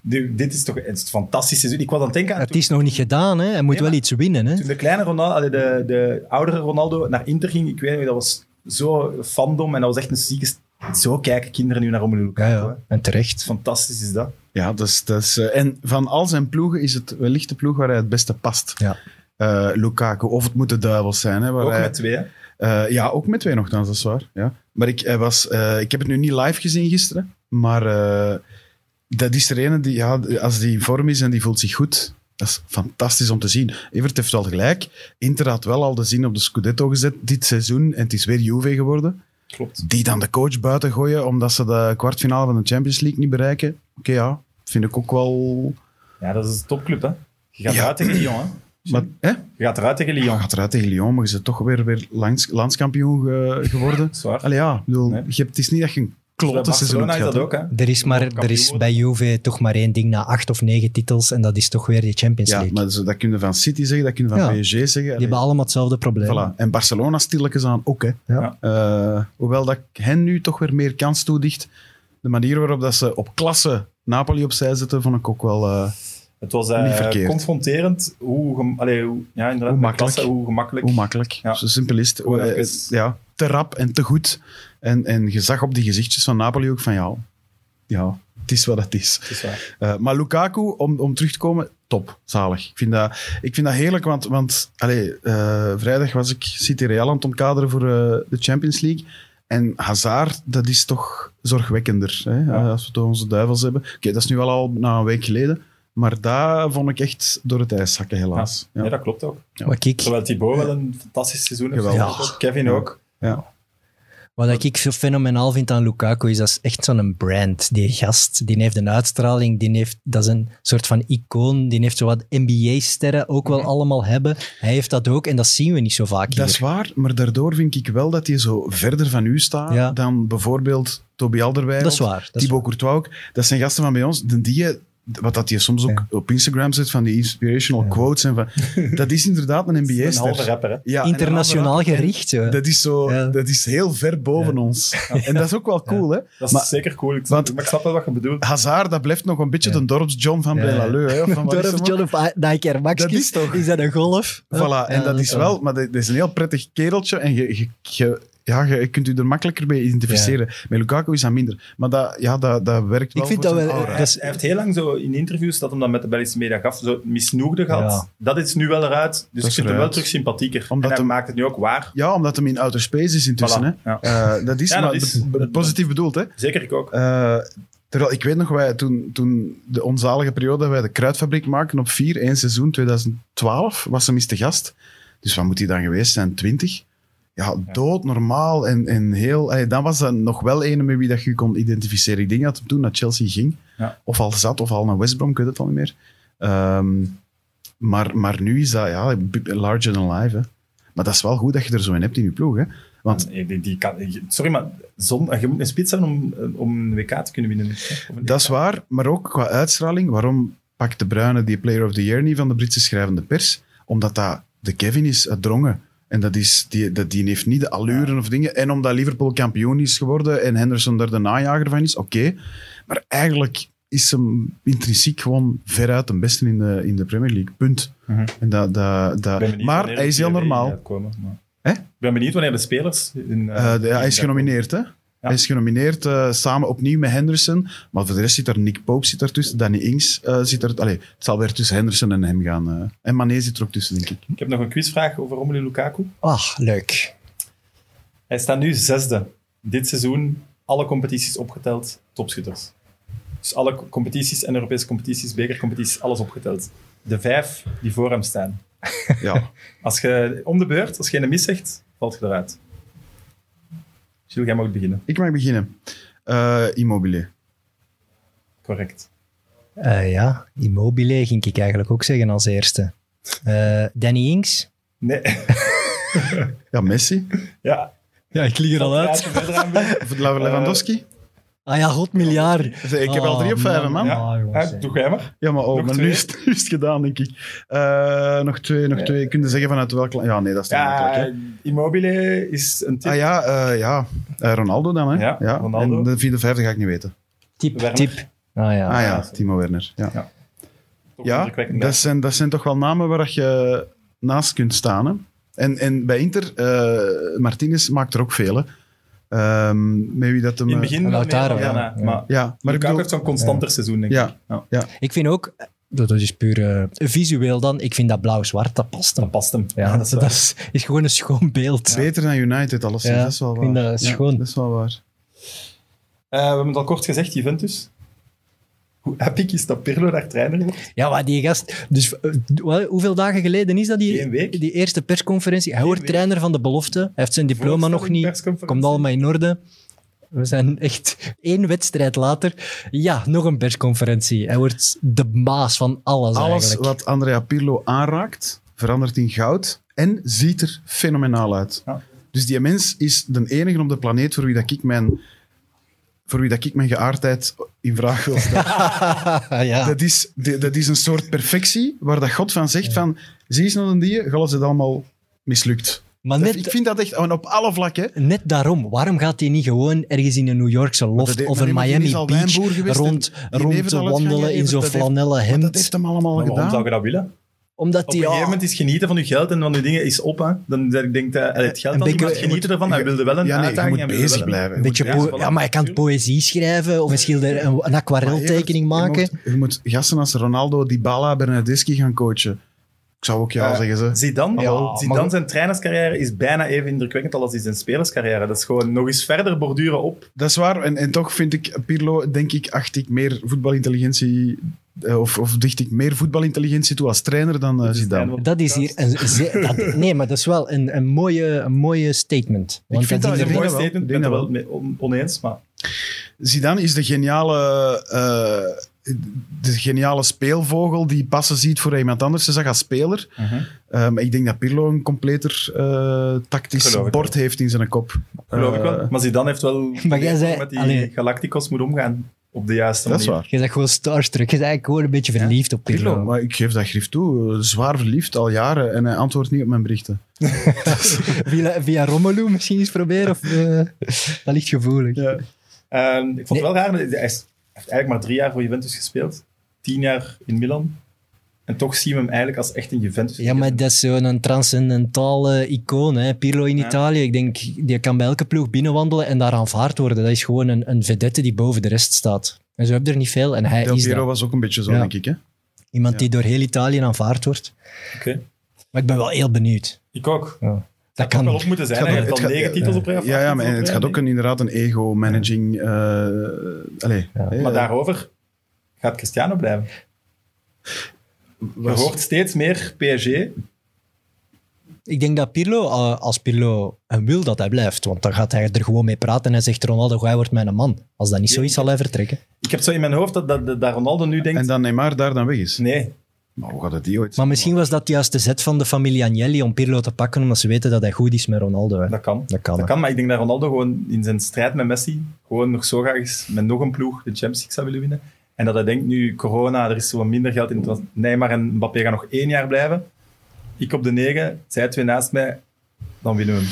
Speaker 1: Nu, Dit is toch het is fantastisch seizoen. Ik was aan het denken aan
Speaker 2: Het
Speaker 1: toen,
Speaker 2: is nog niet gedaan, hè. hij moet
Speaker 1: Nee,
Speaker 2: wel
Speaker 1: maar-
Speaker 2: iets winnen. Hè.
Speaker 1: toen de kleine Ronaldo, allee, de, de oudere Ronaldo naar Inter ging. Ik weet niet, dat was zo fandom en dat was echt een zieke... st- Zo kijken kinderen nu naar Romelu
Speaker 2: Ja,
Speaker 1: Lukaku. hè.
Speaker 2: ja. En terecht.
Speaker 1: Fantastisch is dat.
Speaker 3: Ja, dus, dus, eh, en van al zijn ploegen is het wellicht de ploeg waar hij het beste past.
Speaker 2: Ja.
Speaker 3: Eh, Lukaku, of het moeten duivels zijn. Hè, waar
Speaker 1: Ook
Speaker 3: hij-
Speaker 1: met twee. hè.
Speaker 3: eh, ja, ook met twee nogthans, dat is waar. Ja. Maar ik, hij was, eh, ik heb het nu niet live gezien gisteren, maar eh, dat is er ene die, ja, als die in vorm is en die voelt zich goed, dat is fantastisch om te zien. Evert heeft wel gelijk, Inter had wel al de zin op de Scudetto gezet dit seizoen en het is weer Juve geworden
Speaker 1: Klopt.
Speaker 3: die dan de coach buiten gooien omdat ze de kwartfinale van de Champions League niet bereiken. Oké, ja, vind ik ook wel.
Speaker 1: Ja, dat is een topclub, hè. Je gaat
Speaker 3: Ja.
Speaker 1: eruit tegen Lyon, hè.
Speaker 3: Maar, hè?
Speaker 1: Je gaat eruit tegen
Speaker 3: Je
Speaker 1: Lyon.
Speaker 3: gaat eruit tegen Lyon, maar je bent toch weer, weer lands, landskampioen ge- geworden.
Speaker 1: Zwaar.
Speaker 3: Allee, ja, ik bedoel,
Speaker 1: Nee.
Speaker 3: je hebt, het is niet dat je een
Speaker 1: Bij
Speaker 3: klote seizoen
Speaker 1: Barcelona
Speaker 3: hebt
Speaker 1: is dat
Speaker 3: gehad,
Speaker 1: ook, hè.
Speaker 2: Er is, maar, er is
Speaker 1: Kampioen
Speaker 2: bij Juve toch maar één ding na acht of negen titels en dat is toch weer die Champions
Speaker 3: hè. Ja,
Speaker 2: League.
Speaker 3: maar zo, dat kun je van City zeggen, dat kun je van
Speaker 2: Ja.
Speaker 3: PSG zeggen.
Speaker 2: Die
Speaker 3: Allee,
Speaker 2: hebben allemaal hetzelfde probleem.
Speaker 3: voilà. En Barcelona stilletjes aan ook, hè.
Speaker 2: Ja.
Speaker 3: Eh, hoewel dat ik hen nu toch weer meer kans toedicht. De manier waarop dat ze op klasse Napoli opzij zetten, vond ik ook wel... eh,
Speaker 1: Het was
Speaker 3: Niet
Speaker 1: eh
Speaker 3: verkeerd.
Speaker 1: confronterend hoe, gem- allee, hoe, ja, inderdaad,
Speaker 3: Hoe
Speaker 1: met
Speaker 3: makkelijk.
Speaker 1: klasse, hoe gemakkelijk.
Speaker 3: Hoe makkelijk.
Speaker 1: Ja.
Speaker 3: Zo simpel is het.
Speaker 1: Gewoon
Speaker 3: Eh,
Speaker 1: even-
Speaker 3: het- Ja, te rap en te goed. En, en je zag op die gezichtjes van Napoli ook van ja, ja het is wat het is.
Speaker 1: Het is waar.
Speaker 3: Eh, maar Lukaku, om, om terug te komen, top, zalig. Ik vind dat, ik vind dat heerlijk, want, want allee, eh, vrijdag was ik City Real aan het ontkaderen voor eh, de Champions League. En Hazard, dat is toch zorgwekkender, hè? eh,
Speaker 1: Ja.
Speaker 3: als we het over onze duivels hebben. Oké, dat is nu wel al na een week geleden, maar daar vond ik echt door het ijs zakken, helaas. Ja.
Speaker 1: Ja. dat klopt ook.
Speaker 2: Wat ik,
Speaker 1: Terwijl Thibaut wel een fantastisch seizoen heeft.
Speaker 3: Geweldig.
Speaker 1: gespeeld, Kevin
Speaker 3: Ja.
Speaker 1: ook.
Speaker 3: Ja.
Speaker 2: wat ik zo fenomenaal vind aan Lukaku is dat is echt zo'n brand. Die gast, die heeft een uitstraling, die heeft, dat is een soort van icoon. Die heeft zo wat NBA-sterren ook wel allemaal hebben. Hij heeft dat ook en dat zien we niet zo vaak
Speaker 3: Dat is
Speaker 2: hier.
Speaker 3: waar, maar daardoor vind ik wel dat hij zo verder van u staat
Speaker 2: Ja.
Speaker 3: dan bijvoorbeeld Toby Alderweireld.
Speaker 2: Dat is waar. Dat is
Speaker 3: Thibaut Courtois ook. Dat zijn gasten van bij ons. De die, wat dat je soms ook op Instagram zet, van die inspirational quotes. En van, dat is inderdaad een
Speaker 1: Een halve
Speaker 3: NBA-ster.
Speaker 1: rapper, hè.
Speaker 3: Ja, en een
Speaker 2: internationaal
Speaker 3: halve rapper.
Speaker 2: gericht. zo.
Speaker 3: Dat is, zo,
Speaker 2: Ja.
Speaker 3: dat is heel ver boven ons. En dat is ook wel cool, hè?
Speaker 1: Dat is
Speaker 3: Maar-
Speaker 1: zeker cool. Ik,
Speaker 3: Want-
Speaker 1: maar ik snap wel wat je bedoelt.
Speaker 3: Hazard, dat blijft nog een beetje
Speaker 2: Ja.
Speaker 3: de dorps-John van
Speaker 2: Ja.
Speaker 3: Brelaleu. hè, of van wat is
Speaker 2: Dorf
Speaker 3: hem ook?
Speaker 2: John of Nike Air Max.
Speaker 3: Dat is toch-
Speaker 2: Is dat een golf?
Speaker 3: Voilà, en
Speaker 2: Ja,
Speaker 3: dat is wel, maar dat dat is een heel prettig kereltje en je, je, je- ja, je kunt u er makkelijker mee identificeren. Met Lukaku is dat minder. Maar dat, ja, dat, dat werkt wel
Speaker 2: Ik vind
Speaker 3: voor
Speaker 2: dat
Speaker 3: zijn
Speaker 2: wel-
Speaker 3: aura.
Speaker 1: Hij, hij heeft heel lang zo in interviews dat hem dan met de Belgische media gaf, zo misnoegde gehad.
Speaker 2: Ja.
Speaker 1: Dat is nu wel eruit. Dus
Speaker 3: is
Speaker 1: ik vind hem wel
Speaker 3: eruit.
Speaker 1: terug sympathieker.
Speaker 3: Omdat
Speaker 1: en hij
Speaker 3: hem-
Speaker 1: maakt het nu ook waar.
Speaker 3: Ja, omdat hem in outer space is intussen.
Speaker 1: Voilà,
Speaker 3: Hè.
Speaker 1: ja.
Speaker 3: Eh, dat is,
Speaker 1: Ja, dat
Speaker 3: maar
Speaker 1: is-
Speaker 3: b- b- positief bedoeld. Hè.
Speaker 1: Zeker ik ook.
Speaker 3: Eh, terwijl ik weet nog, wij, toen, toen de onzalige periode dat wij de kruidfabriek maken op 4, 1 seizoen 2012, was hem eens te gast. Dus wat moet hij dan geweest zijn? 20? Ja, doodnormaal en, en heel... Allee, dan was dat nog wel een met wie dat je kon identificeren. Ik denk dat hem toen naar Chelsea ging.
Speaker 1: Ja.
Speaker 3: Of al zat, of al naar West Brom, ik weet het al niet meer. Ehm, maar, maar nu is dat, ja, larger than life. Hè. Maar dat is wel goed dat je er zo in hebt in je ploeg. Hè. Want
Speaker 1: En ik denk, Eh, die kan, sorry, maar zon, je moet een spits hebben om, eh, om een WK te kunnen winnen. Of een-
Speaker 3: Dat is waar, maar ook qua uitstraling. Waarom pakt de Bruyne die Player of the Year niet van de Britse schrijvende pers? Omdat dat de Kevin is uit Drongen. En dat is, die, dat, die heeft niet de allure of dingen. En omdat Liverpool kampioen is geworden en Henderson daar de najager van is, oké. Maar eigenlijk is hem intrinsiek gewoon veruit de beste in de, in de Premier League. Punt.
Speaker 1: Mhm.
Speaker 3: En dat, dat,
Speaker 1: Ik
Speaker 3: dat,
Speaker 1: ben benieuwd
Speaker 3: maar
Speaker 1: wanneer
Speaker 3: hij is
Speaker 1: de
Speaker 3: heel
Speaker 1: PRW
Speaker 3: normaal.
Speaker 1: gaat komen, maar-
Speaker 3: Hè?
Speaker 1: Ik ben benieuwd wanneer de spelers... In, eh,
Speaker 3: Eh, de- hij is
Speaker 1: in-
Speaker 3: genomineerd, hè? Hij is genomineerd eh, samen opnieuw met Henderson. Maar voor de rest zit daar Nick Pope zit daar tussen, Danny Ings eh, zit er. Allee, het zal weer tussen Henderson en hem gaan. eh. En Mané zit er ook tussen, denk ik.
Speaker 1: Ik heb nog een quizvraag over Romelu Lukaku.
Speaker 2: Ah, leuk.
Speaker 1: Hij staat nu zesde. Dit seizoen, alle competities opgeteld, topschutters. Dus alle co- competities en Europese competities, bekercompetities, alles opgeteld. De vijf die voor hem staan.
Speaker 3: Ja.
Speaker 1: Als je om de beurt, als je een mis zegt, valt je eruit. Gilles, jij mag beginnen.
Speaker 3: ik mag beginnen. Eh Immobile.
Speaker 1: Correct.
Speaker 2: Eh, ja, Immobile ging ik eigenlijk ook zeggen als eerste. Eh, Danny Ings.
Speaker 1: Nee.
Speaker 3: Ja, Messi.
Speaker 1: Ja.
Speaker 2: Ja, ik lig er
Speaker 1: Ja, verder aan bij.
Speaker 3: Of Lewandowski.
Speaker 2: Ah ja, god miljard.
Speaker 3: Eh, ik heb al drie op vijf, man.
Speaker 1: Oh, Ja.
Speaker 2: Ah, jongens,
Speaker 1: Ja,
Speaker 2: hè.
Speaker 1: doe jij maar.
Speaker 3: Ja, maar, oh,
Speaker 1: Nog
Speaker 3: maar
Speaker 1: twee.
Speaker 3: nu, is het, nu is het gedaan, denk ik. Eh, nog twee, nog
Speaker 1: Ja.
Speaker 3: twee. Kun je zeggen vanuit welk land? Ja, nee, dat is niet makkelijk. hè.
Speaker 1: Ja, eh, Immobile is een tip.
Speaker 3: Ah ja, eh, ja. Eh, Ronaldo dan, hè?
Speaker 1: Ja, Ronaldo.
Speaker 3: En de vierde, vijfde ga ik niet weten.
Speaker 2: Tip,
Speaker 1: Werner.
Speaker 2: tip. Ah ja.
Speaker 3: Ah
Speaker 1: ja,
Speaker 3: ja,
Speaker 1: sorry.
Speaker 3: Timo Werner. Ja.
Speaker 1: Toch
Speaker 3: Ja,
Speaker 1: indrukwekkend,
Speaker 3: dat zijn, dat zijn toch wel namen waar je naast kunt staan. Hè? En, en bij Inter, eh Martinez maakt er ook vele. Ehm met wie dat hem...
Speaker 1: In het
Speaker 3: eh,
Speaker 1: begin wel
Speaker 2: Lautaro,
Speaker 1: meer dan
Speaker 2: ja.
Speaker 1: daarna,
Speaker 2: Ja.
Speaker 1: Maar
Speaker 3: Ja, maar ik
Speaker 1: Lukaku
Speaker 3: bedoel...
Speaker 1: heeft Oh. zo'n constanter seizoen, denk ik.
Speaker 3: Ja,
Speaker 2: Ik vind ook, dat dat is puur eh, visueel dan, ik vind dat blauw-zwart, dat past hem.
Speaker 1: Dat past hem.
Speaker 2: Ja, dat, is, dat is, is gewoon een schoon beeld.
Speaker 3: beter dan United alles.
Speaker 2: Ja,
Speaker 3: dat is wel
Speaker 2: ik
Speaker 3: waar.
Speaker 2: vind dat
Speaker 3: Ja,
Speaker 2: schoon.
Speaker 3: dat is wel waar.
Speaker 1: Eh, we hebben het al kort gezegd, Juventus. Hoe epic is dat Pirlo daar trainer wordt?
Speaker 2: Ja, maar die gast... Dus, eh, wel, hoeveel dagen geleden is dat die,
Speaker 1: Eén week.
Speaker 2: die eerste persconferentie? Hij wordt
Speaker 1: week.
Speaker 2: trainer van de belofte. Hij heeft zijn diploma nog niet.
Speaker 1: Persconferentie.
Speaker 2: Komt allemaal in orde. We zijn echt één wedstrijd later. Ja, nog een persconferentie. Hij wordt de baas van alles,
Speaker 3: Alles
Speaker 2: eigenlijk.
Speaker 3: wat Andrea Pirlo aanraakt, verandert in goud en ziet er fenomenaal uit.
Speaker 1: Ja.
Speaker 3: Dus die mens is de enige op de planeet voor wie dat ik mijn, voor wie dat ik mijn geaardheid in vraag wil stellen.
Speaker 1: Ah.
Speaker 2: ja.
Speaker 3: Dat is, de- dat is een soort perfectie waar dat God van zegt van, zie eens naar een die, gals het allemaal mislukt.
Speaker 2: Maar
Speaker 3: Dat-
Speaker 2: net,
Speaker 3: ik vind dat echt en op alle vlakken.
Speaker 2: Net daarom, waarom gaat hij niet gewoon ergens in een New Yorkse loft
Speaker 3: dat-
Speaker 2: of
Speaker 3: maar
Speaker 2: een
Speaker 3: die- maar die is
Speaker 2: Miami
Speaker 3: al
Speaker 2: Beach
Speaker 3: wijnboer geweest en
Speaker 2: rond,
Speaker 3: die heeft
Speaker 2: rond
Speaker 3: het
Speaker 2: te
Speaker 3: al uitgegeven,
Speaker 2: wandelen in zo'n
Speaker 3: dat heeft-
Speaker 2: flanellen
Speaker 3: Maar dat
Speaker 2: hemd?
Speaker 3: heeft hem allemaal
Speaker 1: Maar Waarom
Speaker 3: gedaan.
Speaker 1: zou je dat willen?
Speaker 2: Omdat
Speaker 1: Op
Speaker 2: die...
Speaker 1: een gegeven
Speaker 2: ja,
Speaker 1: moment is genieten van je geld en van je dingen is op. Hè. Dan dat ik denk dat allee, het geld
Speaker 2: Een
Speaker 1: dan niet,
Speaker 2: beetje-
Speaker 1: maar het genieten ervan. Hij wilde wel een
Speaker 3: Ja, nee, je
Speaker 1: uitdaging.
Speaker 3: moet
Speaker 1: hij wilde
Speaker 3: bezig
Speaker 1: wel
Speaker 3: blijven. Je
Speaker 2: Een
Speaker 3: moet
Speaker 2: beetje
Speaker 1: Ja,
Speaker 2: poë-
Speaker 1: voilà.
Speaker 2: ja, maar je kan poëzie schrijven of een, schilder, een, een aquareltekening
Speaker 3: Maar Evert,
Speaker 2: maken.
Speaker 3: Je moet, je moet gasten als Ronaldo, Dybala, Bernadeschi gaan coachen. Ik zou ook ja
Speaker 1: Eh,
Speaker 3: zeggen. Ze.
Speaker 1: Zidane,
Speaker 2: Ja,
Speaker 1: Zidane
Speaker 2: maar-
Speaker 1: zijn trainerscarrière is bijna even indrukwekkend als die zijn spelerscarrière. Dat is gewoon nog eens verder borduren op.
Speaker 3: Dat is waar. En, en toch vind ik Pirlo, denk ik, acht ik meer voetbalintelligentie. eh, Of, of dicht ik meer voetbalintelligentie toe als trainer dan eh,
Speaker 1: is het einde
Speaker 3: Zidane.
Speaker 1: van
Speaker 2: Dat is hier een, ze- dat- nee, maar dat is wel een, een, mooie, een mooie statement. Want
Speaker 3: vind
Speaker 2: dat
Speaker 3: dat
Speaker 2: is
Speaker 1: een
Speaker 3: denk
Speaker 1: mooi
Speaker 3: dat wel.
Speaker 1: statement, ik
Speaker 3: Ik denk
Speaker 1: ben het
Speaker 3: dat
Speaker 1: wel mee on- oneens, maar
Speaker 3: Zidane is de geniale, eh, de geniale speelvogel die passen ziet voor iemand anders. Ze zag als speler. Eh, maar ik denk dat Pirlo een completer eh, tactisch
Speaker 1: Geloof ik
Speaker 3: bord heeft in zijn kop.
Speaker 1: geloof ik
Speaker 3: Eh,
Speaker 1: wel. Maar Zidane heeft wel
Speaker 2: Maar jij zei-
Speaker 1: met die
Speaker 2: allee.
Speaker 1: Galacticos moet omgaan op de juiste
Speaker 3: Dat is
Speaker 1: manier.
Speaker 3: waar.
Speaker 2: Je zegt gewoon starstruck. Je bent eigenlijk gewoon een beetje verliefd op Pirlo.
Speaker 3: Pirlo, maar ik geef dat grif toe. Eh, Zwaar verliefd, al jaren. En hij antwoordt niet op mijn berichten.
Speaker 2: Via, via Romelu misschien eens proberen. Of, eh, dat ligt gevoelig.
Speaker 3: Ja.
Speaker 1: Ehm, ik vond
Speaker 2: Nee.
Speaker 1: het wel raar. Hij is- hij heeft eigenlijk maar drie jaar voor Juventus gespeeld. Tien jaar in Milan. En toch zien we hem eigenlijk als echt een Juventus.
Speaker 2: Ja, maar dat is zo'n transcendentale icoon, hè? Pirlo in Italië. Ik denk, die kan bij elke ploeg binnenwandelen en daar aanvaard worden. Dat is gewoon een, een vedette die boven de rest staat. En zo heb je er niet veel. En hij
Speaker 3: Del
Speaker 2: is
Speaker 3: Piero
Speaker 2: dat.
Speaker 3: was ook een beetje zo,
Speaker 2: Ja.
Speaker 3: denk ik. Hè?
Speaker 2: Iemand
Speaker 1: Ja.
Speaker 2: die door heel Italië aanvaard wordt.
Speaker 1: Oké.
Speaker 2: Maar ik ben wel heel benieuwd.
Speaker 1: Ik ook.
Speaker 2: Dat
Speaker 1: Dat kan wel
Speaker 2: kan.
Speaker 1: op moeten zijn. Hij
Speaker 3: ook-
Speaker 1: heeft al
Speaker 3: gaat-
Speaker 1: negen
Speaker 3: ja,
Speaker 1: titels op rij. of
Speaker 3: Ja,
Speaker 1: acht
Speaker 3: ja, maar
Speaker 1: titels op
Speaker 3: het
Speaker 1: rij,
Speaker 3: gaat ook
Speaker 1: denk ik.
Speaker 3: een, inderdaad een ego-managing... eh allee,
Speaker 2: Ja.
Speaker 3: eh,
Speaker 1: Maar daarover gaat Cristiano blijven. Je
Speaker 3: was-
Speaker 1: hoort steeds meer PSG.
Speaker 2: Ik denk dat Pirlo, eh, als Pirlo hem wil dat hij blijft, want dan gaat hij er gewoon mee praten en hij zegt: Ronaldo, jij wordt mijn man. Als dat niet zo is, zal hij vertrekken.
Speaker 1: Ik heb zo in mijn hoofd dat, dat, dat Ronaldo nu denkt...
Speaker 3: En dan Neymar daar dan weg is.
Speaker 1: Nee,
Speaker 3: Maar hoe gaat het die ooit?
Speaker 2: Maar misschien was dat juist de zet van de familie Agnelli om Pirlo te pakken, omdat ze weten dat hij goed is met Ronaldo. hè.
Speaker 1: dat kan.
Speaker 2: Dat kan.
Speaker 1: Dat
Speaker 2: hè.
Speaker 1: kan, maar ik denk dat Ronaldo gewoon in zijn strijd met Messi gewoon nog zo graag is met nog een ploeg de Champions League zou willen winnen. En dat hij denkt nu, corona, er is zo wat minder geld in. het- Neymar en Mbappé gaan nog één jaar blijven. Ik op de negen, zij twee naast mij, dan winnen we hem.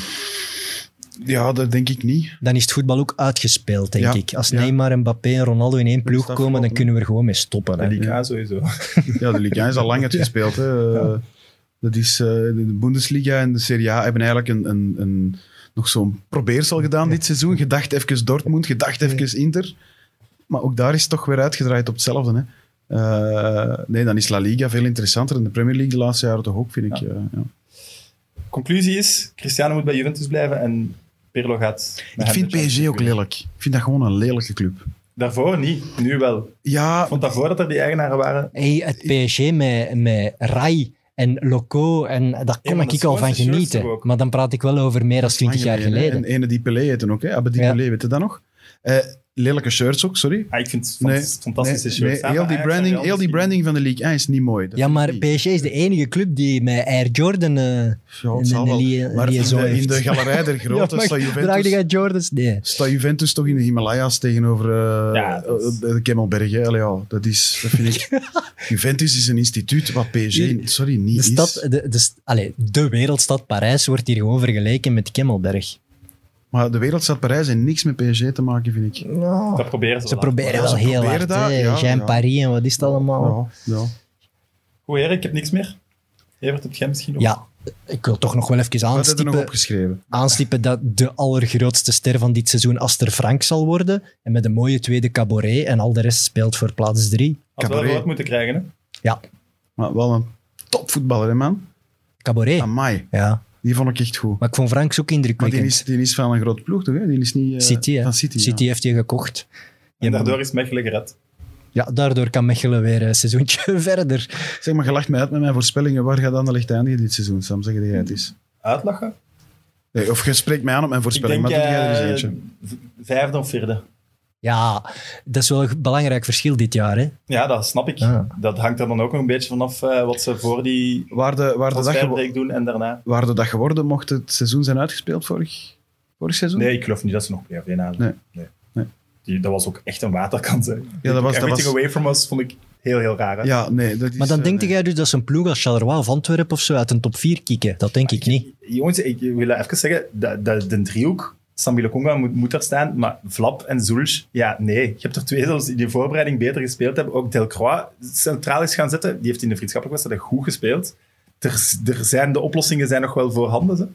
Speaker 3: Ja, dat denk ik niet.
Speaker 2: Dan is het voetbal ook uitgespeeld, denk
Speaker 3: Ja,
Speaker 2: ik. Als
Speaker 3: ja.
Speaker 2: Neymar en Mbappé en Ronaldo in één ploeg
Speaker 3: dat
Speaker 2: komen, dan
Speaker 3: vooral,
Speaker 2: kunnen we er gewoon mee stoppen.
Speaker 1: De
Speaker 2: hè.
Speaker 1: Liga sowieso.
Speaker 3: Ja, de Liga is al lang uitgespeeld. Hè. Eh, Dat is, eh, de de Bundesliga en de Serie A hebben eigenlijk een, een, een, nog zo'n probeersel gedaan dit seizoen. Gedacht even Dortmund, gedacht even Inter. Maar ook daar is het toch weer uitgedraaid op hetzelfde. Hè. Eh, nee, dan is La Liga veel interessanter. En de Premier League de laatste jaren toch ook, vind ik. eh, ja.
Speaker 1: Conclusie is, Cristiano moet bij Juventus blijven en Pirlo gaat... met hem
Speaker 3: Ik vind
Speaker 1: de Champions
Speaker 3: PSG
Speaker 1: League
Speaker 3: ook
Speaker 1: winnen.
Speaker 3: lelijk. Ik vind dat gewoon een lelijke club.
Speaker 1: Daarvoor niet, nu wel.
Speaker 3: Ja,
Speaker 1: Ik vond daarvoor dat er die eigenaren waren...
Speaker 2: Hey, het PSG met, met Rai en Loco, en daar kon
Speaker 1: maar
Speaker 2: ik
Speaker 1: dat
Speaker 2: al
Speaker 1: is gewoon de
Speaker 2: van
Speaker 1: shirts
Speaker 2: genieten.
Speaker 1: toch ook?
Speaker 2: Maar dan praat ik wel over meer dan 20 jaar
Speaker 3: Lang
Speaker 2: geleden.
Speaker 3: hè. En ene die Pelé heette ook, hè? Abedi
Speaker 2: Ja.
Speaker 3: Pelé, weet je dat nog? Eh, lelijke shirts ook, sorry.
Speaker 1: Ah, ik vind het
Speaker 3: Nee,
Speaker 1: fant- fantastische
Speaker 3: nee,
Speaker 1: shirt.
Speaker 3: nee,
Speaker 1: Samen
Speaker 3: heel, die
Speaker 1: Ajax en
Speaker 3: branding,
Speaker 1: Real
Speaker 3: heel die
Speaker 1: misschien.
Speaker 3: branding van de League 1 is niet mooi. Dat
Speaker 2: Ja,
Speaker 3: vind ik
Speaker 2: maar
Speaker 3: niet.
Speaker 2: PSG is de enige club die met Air Jordan... eh
Speaker 3: Ja, het
Speaker 2: en-
Speaker 3: zal
Speaker 2: en
Speaker 3: wel.
Speaker 2: die- eh,
Speaker 3: Maar
Speaker 2: die
Speaker 3: in
Speaker 2: zo
Speaker 3: de, in
Speaker 2: heeft.
Speaker 3: de galerij der grote
Speaker 2: Ja, maar
Speaker 3: staat,
Speaker 2: draagde jij
Speaker 3: Juventus,
Speaker 2: Jordans? Nee.
Speaker 3: staat Juventus toch in de Himalaya's tegenover eh,
Speaker 1: Ja, dat is-
Speaker 3: eh, de Kemmelberg. Hè? Allee, ja, dat, is, dat vind ik... Juventus is een instituut wat PSG, sorry, niet
Speaker 2: De,
Speaker 3: is.
Speaker 2: stad, de, de, st- allee, de wereldstad Parijs wordt hier gewoon vergeleken met Kemmelberg.
Speaker 3: Maar de wereldstad Parijs heeft niks met PSG te maken, vind ik.
Speaker 1: Dat proberen ze,
Speaker 2: Ze
Speaker 1: wel aan.
Speaker 2: proberen
Speaker 3: Ja,
Speaker 2: wel
Speaker 3: Ah, ze
Speaker 2: heel
Speaker 3: proberen
Speaker 2: hard.
Speaker 3: dat,
Speaker 2: hè.
Speaker 3: ja,
Speaker 2: Jean
Speaker 3: ja.
Speaker 2: Paris en wat is het allemaal?
Speaker 3: Ja, ja.
Speaker 1: Goed, heren, ik heb niks meer. Evert, heb jij misschien nog?
Speaker 2: Ja, ik wil toch nog wel even
Speaker 3: Wat heb je er nog
Speaker 2: aanstippen,
Speaker 3: opgeschreven?
Speaker 2: aanstippen dat de allergrootste ster van dit seizoen Aster Frank zal worden. En met een mooie tweede cabaret en al de rest speelt voor plaats drie.
Speaker 1: Had wel
Speaker 3: Cabaret.
Speaker 1: rood moeten krijgen, hè?
Speaker 2: Ja,
Speaker 3: Maar wel een topvoetballer, hè, man?
Speaker 2: cabaret.
Speaker 3: Amai.
Speaker 2: Ja,
Speaker 3: Die vond ik echt goed.
Speaker 2: maar ik vond Franks ook
Speaker 3: Maar die
Speaker 2: indrukwekkend.
Speaker 3: is, die is van een grote ploeg, toch? Hè? Die is niet, eh,
Speaker 2: City, hè?
Speaker 3: van City. ja.
Speaker 2: heeft die gekocht.
Speaker 1: En
Speaker 2: Ja.
Speaker 1: daardoor is Mechelen gered.
Speaker 2: Ja, daardoor kan Mechelen weer een seizoentje verder.
Speaker 3: Zeg maar, je lacht mij uit met mijn voorspellingen. Waar gaat Anderlecht eindigen dit seizoen, Sam? Zeg jij het eens.
Speaker 1: Uitlachen?
Speaker 3: Nee, of je spreekt mij aan op mijn
Speaker 1: Ik
Speaker 3: voorspelling,
Speaker 1: denk
Speaker 3: maar doe jij Dus er
Speaker 1: eh,
Speaker 3: eens eentje.
Speaker 1: v- vijfde of vierde.
Speaker 2: Ja, dat is wel een belangrijk verschil dit jaar. Hè?
Speaker 1: Ja, dat snap ik.
Speaker 2: Ja.
Speaker 1: Dat hangt er dan ook nog een beetje vanaf eh, wat ze voor die
Speaker 3: Waar de, waar, de dag gewo-
Speaker 1: transferbreak doen en daarna.
Speaker 3: waar de dag geworden mocht het seizoen zijn uitgespeeld vorig, vorig seizoen?
Speaker 1: Nee, ik geloof niet dat ze nog play-off één halen.
Speaker 3: Nee.
Speaker 1: Nee.
Speaker 3: Nee.
Speaker 1: Die, dat was ook echt een waterkant. Hè.
Speaker 3: Ja, dat was, dat
Speaker 1: Everything
Speaker 3: was,
Speaker 1: away from us vond ik heel, heel raar. hè.
Speaker 3: ja, nee, dat is,
Speaker 2: Maar dan
Speaker 3: eh,
Speaker 2: denk
Speaker 3: nee.
Speaker 2: jij dus dat zo'n ploeg als Charleroi of Antwerpen of zo uit een top 4 kieken? Dat denk ik niet.
Speaker 1: Jongens, ik wil even zeggen, dat, dat, de driehoek Sambile Conga moet, moet er staan, maar Vlap en Zulch, ja, nee. Je hebt er twee zelfs die in de voorbereiding beter gespeeld hebben. Ook Delcroix centraal is gaan zetten. Die heeft in de vriendschappelijke wedstrijd goed gespeeld. Er, er zijn, de oplossingen zijn nog wel voorhanden. Hè.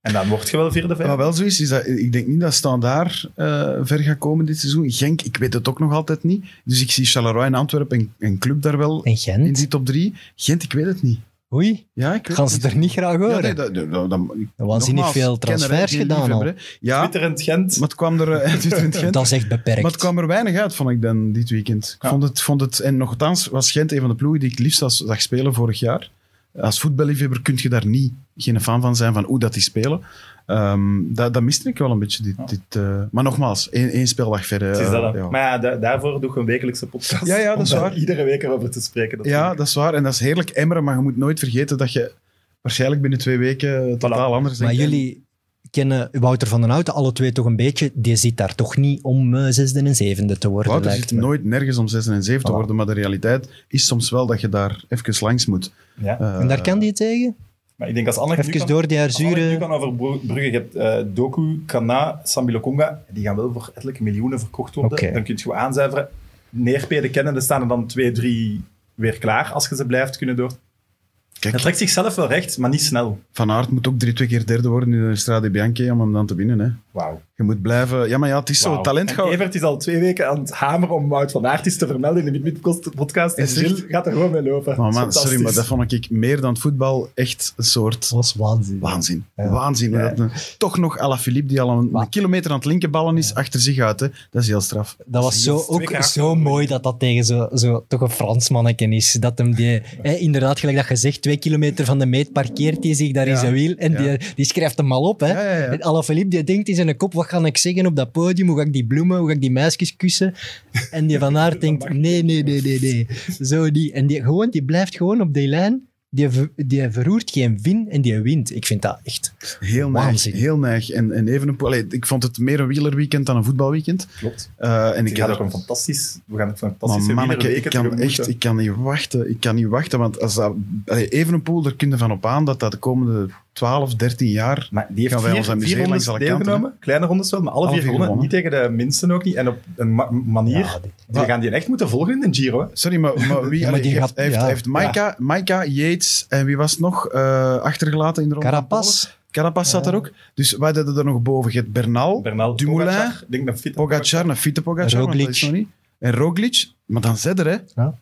Speaker 1: En dan word je wel vierde, vijfde.
Speaker 3: Wat wel zo is, is dat ik denk niet dat Standaard eh ver gaat komen dit seizoen. Genk, ik weet het ook nog altijd niet. Dus ik zie Charleroi en Antwerpen en, en Club daar wel
Speaker 2: En
Speaker 3: in
Speaker 2: Gent?
Speaker 3: die top drie. Gent, ik weet het niet.
Speaker 2: Oei,
Speaker 3: Ja, ik weet
Speaker 2: gaan ze
Speaker 3: het
Speaker 2: het er niet graag
Speaker 3: Ja,
Speaker 2: horen?
Speaker 3: nee, dat, dat, dat, dat,
Speaker 2: Er was hier niet
Speaker 3: nogmaals,
Speaker 2: veel transfers
Speaker 3: kenner, hè, die
Speaker 2: gedaan al.
Speaker 3: liefhebber, hè. Ja,
Speaker 1: Twitterend Gent.
Speaker 3: maar het kwam er... eh, Twitter in Gent.
Speaker 2: Dat is echt beperkt.
Speaker 3: Maar het kwam er weinig uit, vond ik dan, dit weekend. Ik
Speaker 1: Ja.
Speaker 3: vond het, vond het, en nogthans was Gent een van de ploegen die ik liefst als, zag spelen vorig jaar. Als voetballiefhebber kun je daar niet, geen fan van zijn van hoe dat die spelen. Ehm, dat, dat miste ik wel een beetje. Dit,
Speaker 1: Ja.
Speaker 3: dit, eh, maar nogmaals, één, één speeldag verder.
Speaker 1: Het is dat,
Speaker 3: eh,
Speaker 1: hè.
Speaker 3: ja.
Speaker 1: Maar ja, da- daarvoor doe ik een wekelijkse podcast.
Speaker 3: Ja, ja, dat
Speaker 1: om
Speaker 3: is
Speaker 1: daar
Speaker 3: waar.
Speaker 1: iedere week erover te spreken. Dat
Speaker 3: ja,
Speaker 1: vind ik-
Speaker 3: dat is waar. En dat is heerlijk emmeren, maar je moet nooit vergeten dat je waarschijnlijk binnen twee weken eh, totaal anders
Speaker 2: Maar
Speaker 3: denkt.
Speaker 2: jullie kennen Wouter van den Houten, alle twee toch een beetje. Die zit daar toch niet om eh, zesde en zevende te worden,
Speaker 3: Wouter
Speaker 2: lijkt
Speaker 3: zit
Speaker 2: me.
Speaker 3: nooit nergens om 6 en 7 te
Speaker 2: Voilà.
Speaker 3: worden, maar de realiteit is soms wel dat je daar even langs moet.
Speaker 1: Ja.
Speaker 3: Eh,
Speaker 2: En daar kan die tegen?
Speaker 1: Maar ik denk als Anneke nu
Speaker 2: Even
Speaker 1: kan-
Speaker 2: door die haar
Speaker 1: als Anneke nu
Speaker 2: zure...
Speaker 1: kan overbruggen. Je hebt eh, Doku, Kana, Sambilo Conga. Die gaan wel voor etelijke miljoenen verkocht worden.
Speaker 2: Oké.
Speaker 1: Dan kun je gewoon aanzuiveren. Neerpeden kennende staan er dan twee, drie weer klaar. Als je ze blijft kunnen door.
Speaker 3: Kijk.
Speaker 1: Het trekt zichzelf wel recht, maar niet snel.
Speaker 3: Van Aert moet ook drie, twee keer derde worden in de Strade Bianche om hem dan te winnen. Hè.
Speaker 1: Wauw.
Speaker 3: Je moet blijven... Ja, maar ja, het is zo.
Speaker 1: Wauw.
Speaker 3: Talent
Speaker 1: En
Speaker 3: gaat...
Speaker 1: Evert is al twee weken aan het hameren om Wout van Aert eens te vermelden in de Midmid podcast. En
Speaker 3: Is echt-
Speaker 1: Gilles gaat er gewoon mee lopen.
Speaker 3: Maar
Speaker 1: Dat is
Speaker 3: man, sorry,
Speaker 1: fantastisch.
Speaker 3: maar dat vond ik meer dan het voetbal echt een soort...
Speaker 2: was waanzin.
Speaker 3: Waanzin.
Speaker 2: Ja.
Speaker 3: Waanzin. hoe
Speaker 1: Ja.
Speaker 3: Dat een- toch nog Alaphilippe, die al een,
Speaker 2: Wa-
Speaker 3: een kilometer aan het linkerballen is, achter zich uit. Hè. Dat is heel straf.
Speaker 2: Dat was zo,
Speaker 1: Twee keer
Speaker 2: ook
Speaker 1: achter
Speaker 2: zo mooi dat dat tegen zo, zo, toch een Frans manneken is. Dat hem die, hè, inderdaad, gelijk dat gezegd, twee kilometer van de meet parkeert hij zich daar in
Speaker 3: Ja,
Speaker 2: zijn wiel en
Speaker 3: ja.
Speaker 2: die, die schrijft hem al op. Hè.
Speaker 3: Ja, ja, ja.
Speaker 2: En Alaphilippe die denkt in zijn kop, wat ga ik zeggen op dat podium? Hoe ga ik die bloemen, hoe ga ik die meisjes kussen? En die van Aert denkt, nee, nee, nee, nee, nee. Zo die, en die, gewoon, die blijft gewoon op die lijn. Die, ver- die verroert geen vin en die wint. Ik vind dat echt...
Speaker 3: Heel neig.
Speaker 2: Waanzin.
Speaker 3: Heel neig. En, en even een... allee, ik vond het meer een wielerweekend dan een voetbalweekend.
Speaker 1: Klopt.
Speaker 3: Eh, en
Speaker 1: Ik
Speaker 3: ik had
Speaker 1: had ook een fantastisch... We gaan een
Speaker 3: Maar
Speaker 1: fantastische
Speaker 3: manneke,
Speaker 1: wielerweken
Speaker 3: ik kan
Speaker 1: tegemoet,
Speaker 3: echt
Speaker 1: hè.
Speaker 3: ik kan niet wachten. Ik kan niet wachten, want als dat, allee, Evenepoel, daar kun je van op aan dat dat de komende 12, 13 jaar...
Speaker 1: Maar die heeft
Speaker 3: Gaan wij
Speaker 1: vier,
Speaker 3: ons amuseren
Speaker 1: vier rondes
Speaker 3: langs alle kanten,
Speaker 1: deelgenomen. Kleine rondes wel, maar alle, vier gewonnen.
Speaker 3: gewonnen.
Speaker 1: Niet tegen de minsten ook niet. En op een ma- manier...
Speaker 2: Ja, dit-
Speaker 1: we gaan die echt moeten volgen in de Giro. Hè.
Speaker 3: Sorry, maar, maar wie
Speaker 2: Ja, maar
Speaker 3: allee,
Speaker 2: die
Speaker 3: heeft,
Speaker 2: gaat-
Speaker 3: heeft,
Speaker 2: ja.
Speaker 3: heeft Maika, Maika, Yates en wie was het nog eh, achtergelaten in de ronde? van Polen?
Speaker 2: Carapaz,
Speaker 3: Carapaz zat er ook. Dus wij deden er nog boven. Je hebt Bernal,
Speaker 1: Bernal,
Speaker 3: Dumoulin,
Speaker 1: Pogacar, ik denk dat fit
Speaker 3: Pogacar, een fitte Pogacar. want dat is
Speaker 2: Roglic.
Speaker 3: nog niet. En Roglic, maar dan zet er, hè.
Speaker 2: Ja.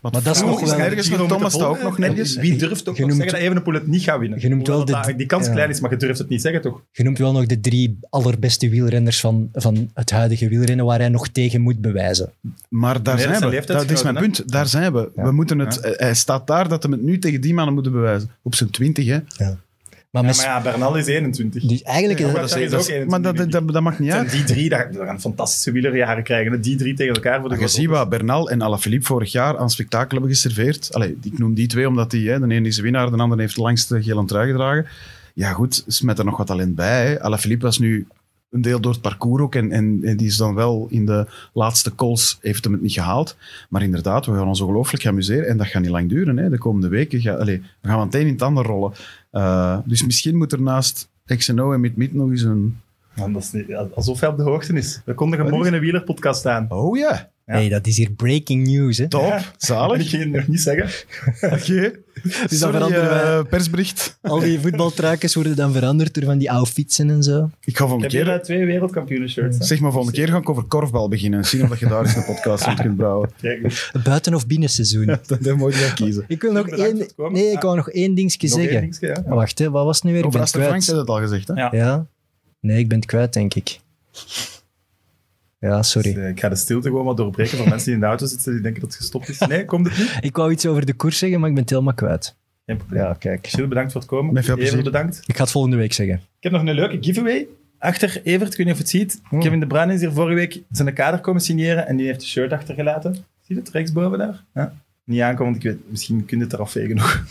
Speaker 3: Want
Speaker 2: Maar dat is
Speaker 3: Froome
Speaker 2: nog wel-
Speaker 3: nergens,
Speaker 1: Giro
Speaker 3: maar
Speaker 1: moeten
Speaker 3: Thomas staat ook
Speaker 1: volgen.
Speaker 3: nog nergens.
Speaker 1: Wie durft ook nog
Speaker 2: Je noemt-
Speaker 1: zeggen dat Evenepoel het niet gaat winnen?
Speaker 2: Je noemt wel
Speaker 1: Hoewel dat
Speaker 2: de-
Speaker 1: eigenlijk die kans
Speaker 2: ja.
Speaker 1: klein is, maar je durft het niet zeggen, toch?
Speaker 2: Je noemt wel nog de drie allerbeste wielrenners van, van het huidige wielrennen waar hij nog tegen moet bewijzen.
Speaker 1: Nee,
Speaker 3: Maar daar
Speaker 1: dat
Speaker 3: zijn
Speaker 1: zijn
Speaker 3: we. Dat, is mijn
Speaker 1: leeftijdsgenoten,
Speaker 3: punt. Daar zijn we.
Speaker 2: Ja.
Speaker 3: we moeten het, eh, Hij staat daar dat we het nu tegen die mannen moeten bewijzen. Op zijn twintig, hè.
Speaker 2: Maar,
Speaker 1: Ja,
Speaker 2: met-
Speaker 1: maar ja, Bernal is 21.
Speaker 2: dus eigenlijk
Speaker 1: Ja,
Speaker 2: is
Speaker 1: maar
Speaker 2: dat,
Speaker 1: dat is ook
Speaker 3: maar dat,
Speaker 1: 21,
Speaker 3: dat, dat, mag niet
Speaker 1: Het zijn
Speaker 3: uit.
Speaker 1: die drie, dat- we gaan fantastische wielerjaren krijgen. hè. Die drie tegen elkaar voor de
Speaker 3: Maar je
Speaker 1: grote
Speaker 3: ziet wat Bernal en Alaphilippe vorig jaar aan spektakel hebben geserveerd. Allee, ik noem die twee omdat die, hè, de ene is de winnaar, de andere heeft de langste gele trui gedragen. Ja goed, smet er nog wat talent bij. Hè. Alaphilippe was nu een deel door het parcours ook en, en, en die is dan wel in de laatste calls, heeft hem het niet gehaald. Maar inderdaad, we gaan ons ongelooflijk gaan amuseren en dat gaat niet lang duren. Hè. De komende weken ga, allee, we gaan we meteen in het ander rollen. Eh, dus misschien moet er naast XNO en Mid-Mid nog eens een...
Speaker 1: Man, dat is niet- alsof hij op de hoogte is. We kondigen
Speaker 3: Wat
Speaker 1: morgen een wielerpodcast aan.
Speaker 3: Oh ja,
Speaker 1: Ja.
Speaker 2: Nee, dat is hier breaking news. Hè.
Speaker 3: top,
Speaker 1: Ja. En ik
Speaker 3: zalig.
Speaker 1: ging het nog niet zeggen.
Speaker 3: Oké,
Speaker 2: Dus dan
Speaker 3: Sorry,
Speaker 2: veranderen wij.
Speaker 3: eh, persbericht.
Speaker 2: Al die voetbaltruikers worden dan veranderd door van die oude fietsen en zo.
Speaker 3: Ik ga volgende
Speaker 1: Ik heb
Speaker 3: keer,
Speaker 1: hier twee wereldkampioenen shirts.
Speaker 3: zeg maar, volgende keer ga ik over korfbal beginnen. en Zien of dat je daar eens een podcast rond kunt brouwen.
Speaker 2: Buiten- of binnenseizoen.
Speaker 3: Dat dat moet je dan kiezen.
Speaker 2: Ik wil nog
Speaker 1: Bedankt voor
Speaker 2: één...
Speaker 1: het komen.
Speaker 2: Nee, ik
Speaker 1: Ja.
Speaker 2: wou nog één dingetje zeggen. Wacht, hè, wat was het nu weer? Ik
Speaker 3: Over
Speaker 2: ben het
Speaker 3: Aster Frank
Speaker 2: kwijt.
Speaker 3: zei het al gezegd, hè?
Speaker 1: Ja.
Speaker 2: Ja? Nee, ik ben het kwijt, denk ik. Ja, sorry.
Speaker 1: Dus, eh, Ik ga de stilte gewoon wat doorbreken voor mensen die in de auto zitten die denken dat het gestopt is. Nee, komt het niet?
Speaker 2: Ik wou iets over de koers zeggen, maar ik ben het helemaal kwijt.
Speaker 1: Geen probleem.
Speaker 2: Ja, kijk.
Speaker 1: Gilles, bedankt voor het komen.
Speaker 3: Met veel
Speaker 1: Evert,
Speaker 3: plezier.
Speaker 1: bedankt.
Speaker 2: Ik ga het volgende week zeggen.
Speaker 1: Ik heb nog een leuke giveaway. Achter Evert, ik weet niet of je het ziet. Kevin De Bruyne is hier vorige week zijn kader komen signeren en die heeft een shirt achtergelaten. Zie je het rechtsboven daar? Ja. Niet aankomen, want ik weet, misschien kun je het eraf vegen nog.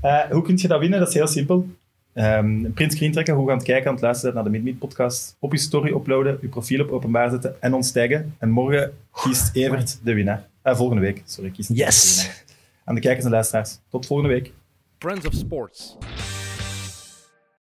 Speaker 1: Eh, hoe kun je dat winnen? Dat is heel simpel. Ehm een print screen trekken, hoe gaan het kijken, aan het luisteren naar de Meet Meet podcast. Op je story uploaden, je profiel op openbaar zetten en ons taggen. En morgen kiest Evert de winnaar. Eh, volgende week, sorry. Kiest Evert de
Speaker 2: Yes.
Speaker 1: winnaar. Aan de kijkers en luisteraars, tot volgende week.
Speaker 4: Friends of Sports.